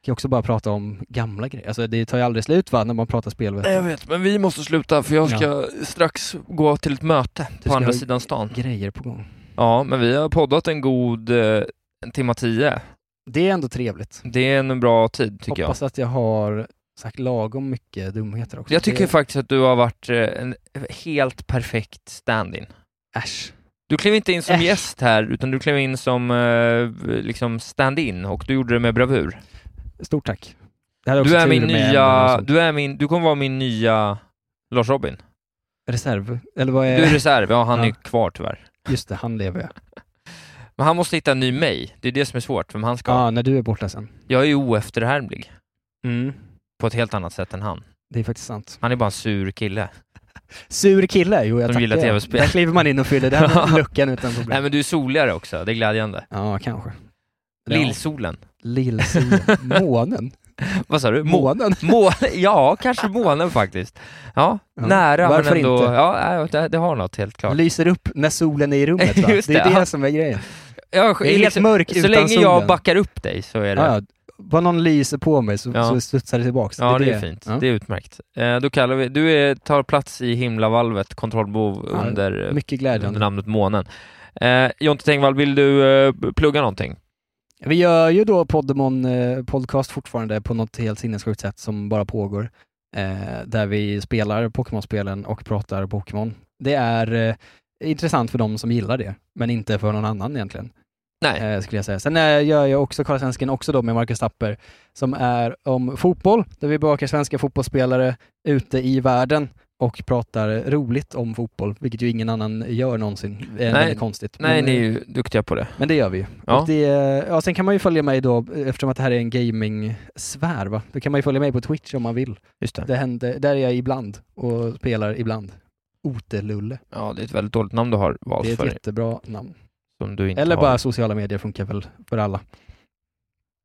S1: Jag kan också bara prata om gamla grejer. Alltså det tar ju aldrig slut va, när man pratar spel. Vet
S2: Nej, jag vet, men vi måste sluta för jag ska strax gå till ett möte
S1: Du
S2: på
S1: ska
S2: andra
S1: ha
S2: sidan stan.
S1: Grejer på gång.
S2: Ja, men vi har poddat en god eh, en timma tio.
S1: Det är ändå trevligt.
S2: Det är en bra tid tycker
S1: Hoppas att jag har sagt lagom mycket dumheter också.
S2: jag. Jag tycker
S1: det...
S2: faktiskt att du har varit eh, en helt perfekt stand-in.
S1: Äsch.
S2: Du klev inte in som
S1: Äsch.
S2: gäst här, utan du klev in som eh, liksom stand-in och du gjorde det med bravur.
S1: Stort tack. Det här också
S2: Du är
S1: tur
S2: min
S1: med ämnen och
S2: nya,
S1: sånt.
S2: du är min, du kommer vara min nya Lars Robin.
S1: Reserv, eller vad
S2: Du
S1: är...
S2: är reserv, ja han
S1: Eh, Ja.
S2: är kvar tyvärr.
S1: Just det, han lever ja.
S2: Men han måste hitta en ny mig, det är det som är svårt, vem han ska
S1: Ja, när du är borta sen.
S2: Jag är ju oefterhärmlig.
S1: Mm.
S2: På ett helt annat sätt än han.
S1: Det är faktiskt sant.
S2: Han är bara en sur kille.
S1: Sur kille, jo jag
S2: Som
S1: tackar.
S2: gillar
S1: ja.
S2: TV-spel.
S1: Där kliver man in och fyller den luckan utan problem.
S2: Nej men du är soligare också, det är glädjande.
S1: Ja, kanske.
S2: Lillsolen.
S1: Lillsolen. Månen.
S2: Vad sa du? Må-
S1: Månen.
S2: Må- ja, kanske månen faktiskt. Ja,
S1: Ja,
S2: nära
S1: varför
S2: men ändå...
S1: inte?
S2: Ja, nej, det, det har något helt klart.
S1: Lyser upp när solen är i rummet va?
S2: Just
S1: det är
S2: det,
S1: det
S2: ja.
S1: som är grejen.
S2: Jag, liksom,
S1: Det är helt mörk
S2: så
S1: utan
S2: länge jag
S1: solen.
S2: backar upp dig så är det...
S1: Ja, ja. Bara någon lyser på mig så,
S2: Ja.
S1: så studsar det tillbaks.
S2: Ja, det är fint. Det är utmärkt. Eh, då kallar vi, du är, tar plats i himlavalvet, kontrollbov
S1: Ja,
S2: under,
S1: mycket
S2: under
S1: glädjande.
S2: namnet månen. Eh, Jonte Tengvall, vill du eh, plugga någonting?
S1: Vi gör ju då Poddemon eh, podcast fortfarande på något helt sinnessjukt sätt som bara pågår. Eh, där vi spelar Pokémon-spelen och pratar Pokémon. Det är eh, intressant för de som gillar det, men inte för någon annan egentligen.
S2: Nej.
S1: Eh, skulle jag säga. Sen eh, gör jag också Karla Svensken också då med Marcus Tapper som är om fotboll, där vi bevakar svenska fotbollsspelare ute i världen och pratar roligt om fotboll, vilket ju ingen annan gör någonsin. Det är
S2: Nej.
S1: väldigt konstigt.
S2: Nej,
S1: Men,
S2: ni är
S1: eh,
S2: ju duktiga på det.
S1: men det gör vi ju.
S2: Ja.
S1: Och det, ja, sen kan man ju följa mig då, eftersom att det här är en gaming-sfär, va? då kan man ju följa mig på Twitch om man vill.
S2: Just det.
S1: det händer, där är jag ibland och spelar ibland. Otelulle.
S2: Ja, det är ett väldigt dåligt namn du har valt
S1: Det är
S2: för
S1: ett
S2: dig.
S1: jättebra namn.
S2: Som du inte
S1: Eller
S2: har.
S1: bara sociala medier funkar väl för alla.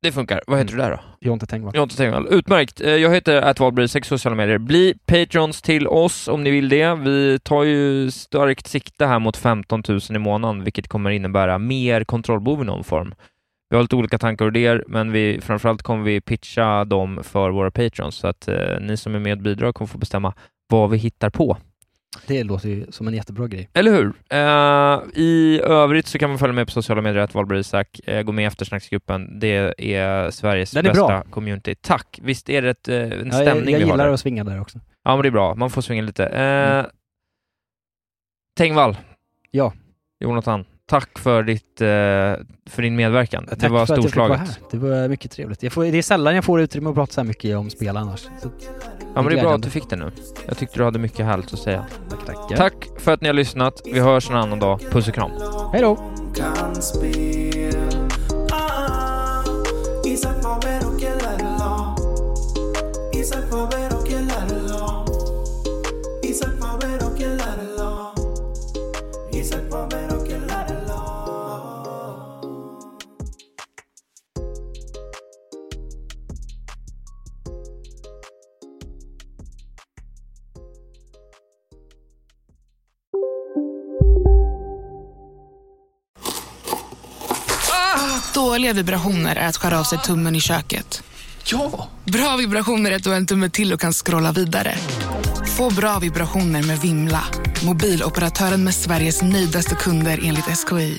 S2: Det funkar. Vad
S1: Mm.
S2: heter du där då?
S1: Jonte Tengvall.
S2: Jonte Tengvall. Utmärkt. Eh, Jag heter atvalberg sex sociala medier. Bli patrons till oss om ni vill det. Vi tar ju starkt sikte här mot 15 000 i månaden, vilket kommer innebära mer kontrollbov i någon form. Vi har lite olika tankar och idéer, men vi, framförallt kommer vi pitcha dem för våra patrons, så att eh, ni som är med och bidrar kommer få bestämma vad vi hittar på.
S1: Det låter ju som en jättebra grej.
S2: Eller hur? Eh, I övrigt så kan man följa mig på sociala medier, att Valborg Isak. Eh, gå med i eftersnacksgruppen. Det är Sveriges
S1: Den är
S2: bästa
S1: bra.
S2: community. Tack! Visst är det ett, eh, en
S1: Ja, jag,
S2: stämning
S1: jag
S2: vi har
S1: gillar
S2: där?
S1: att svinga där också.
S2: Ja, men det är bra. Man får svinga lite. Eh, Tengvall.
S1: Mm. Ja.
S2: Jonathan, tack för, ditt, eh, för din medverkan.
S1: Tack
S2: det var
S1: för att jag fick vara här.
S2: storslaget.
S1: Det var mycket trevligt. Jag får, det är sällan jag får utrymme att prata så här mycket om spel annars. Så,
S2: Ja, men det är bra
S1: Glädjande.
S2: att du fick det nu. Jag tyckte du hade mycket härligt att säga.
S1: tack, tackar.
S2: Tack för att ni har lyssnat. Vi hörs en annan dag. Puss och kram.
S1: Hej då!
S7: kan spel. Ah, Isaac var ver och killarna. Isaac var ver och killarna.
S1: Dåliga vibrationer är att skära av sig tummen i köket.
S3: Ja!
S1: Bra vibrationer är att du har en tumme till och kan scrolla vidare. Få bra vibrationer med Vimla. Mobiloperatören med Sveriges nöjdaste kunder enligt SKI.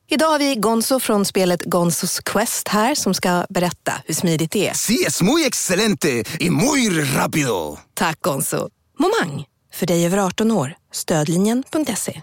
S8: Idag har vi Gonzo från spelet Gonzos Quest här som ska berätta hur smidigt det är.
S9: Sí, es muy excelente y muy rápido.
S8: Tack Gonzo. Momang, för dig över 18 år. Stödlinjen.se.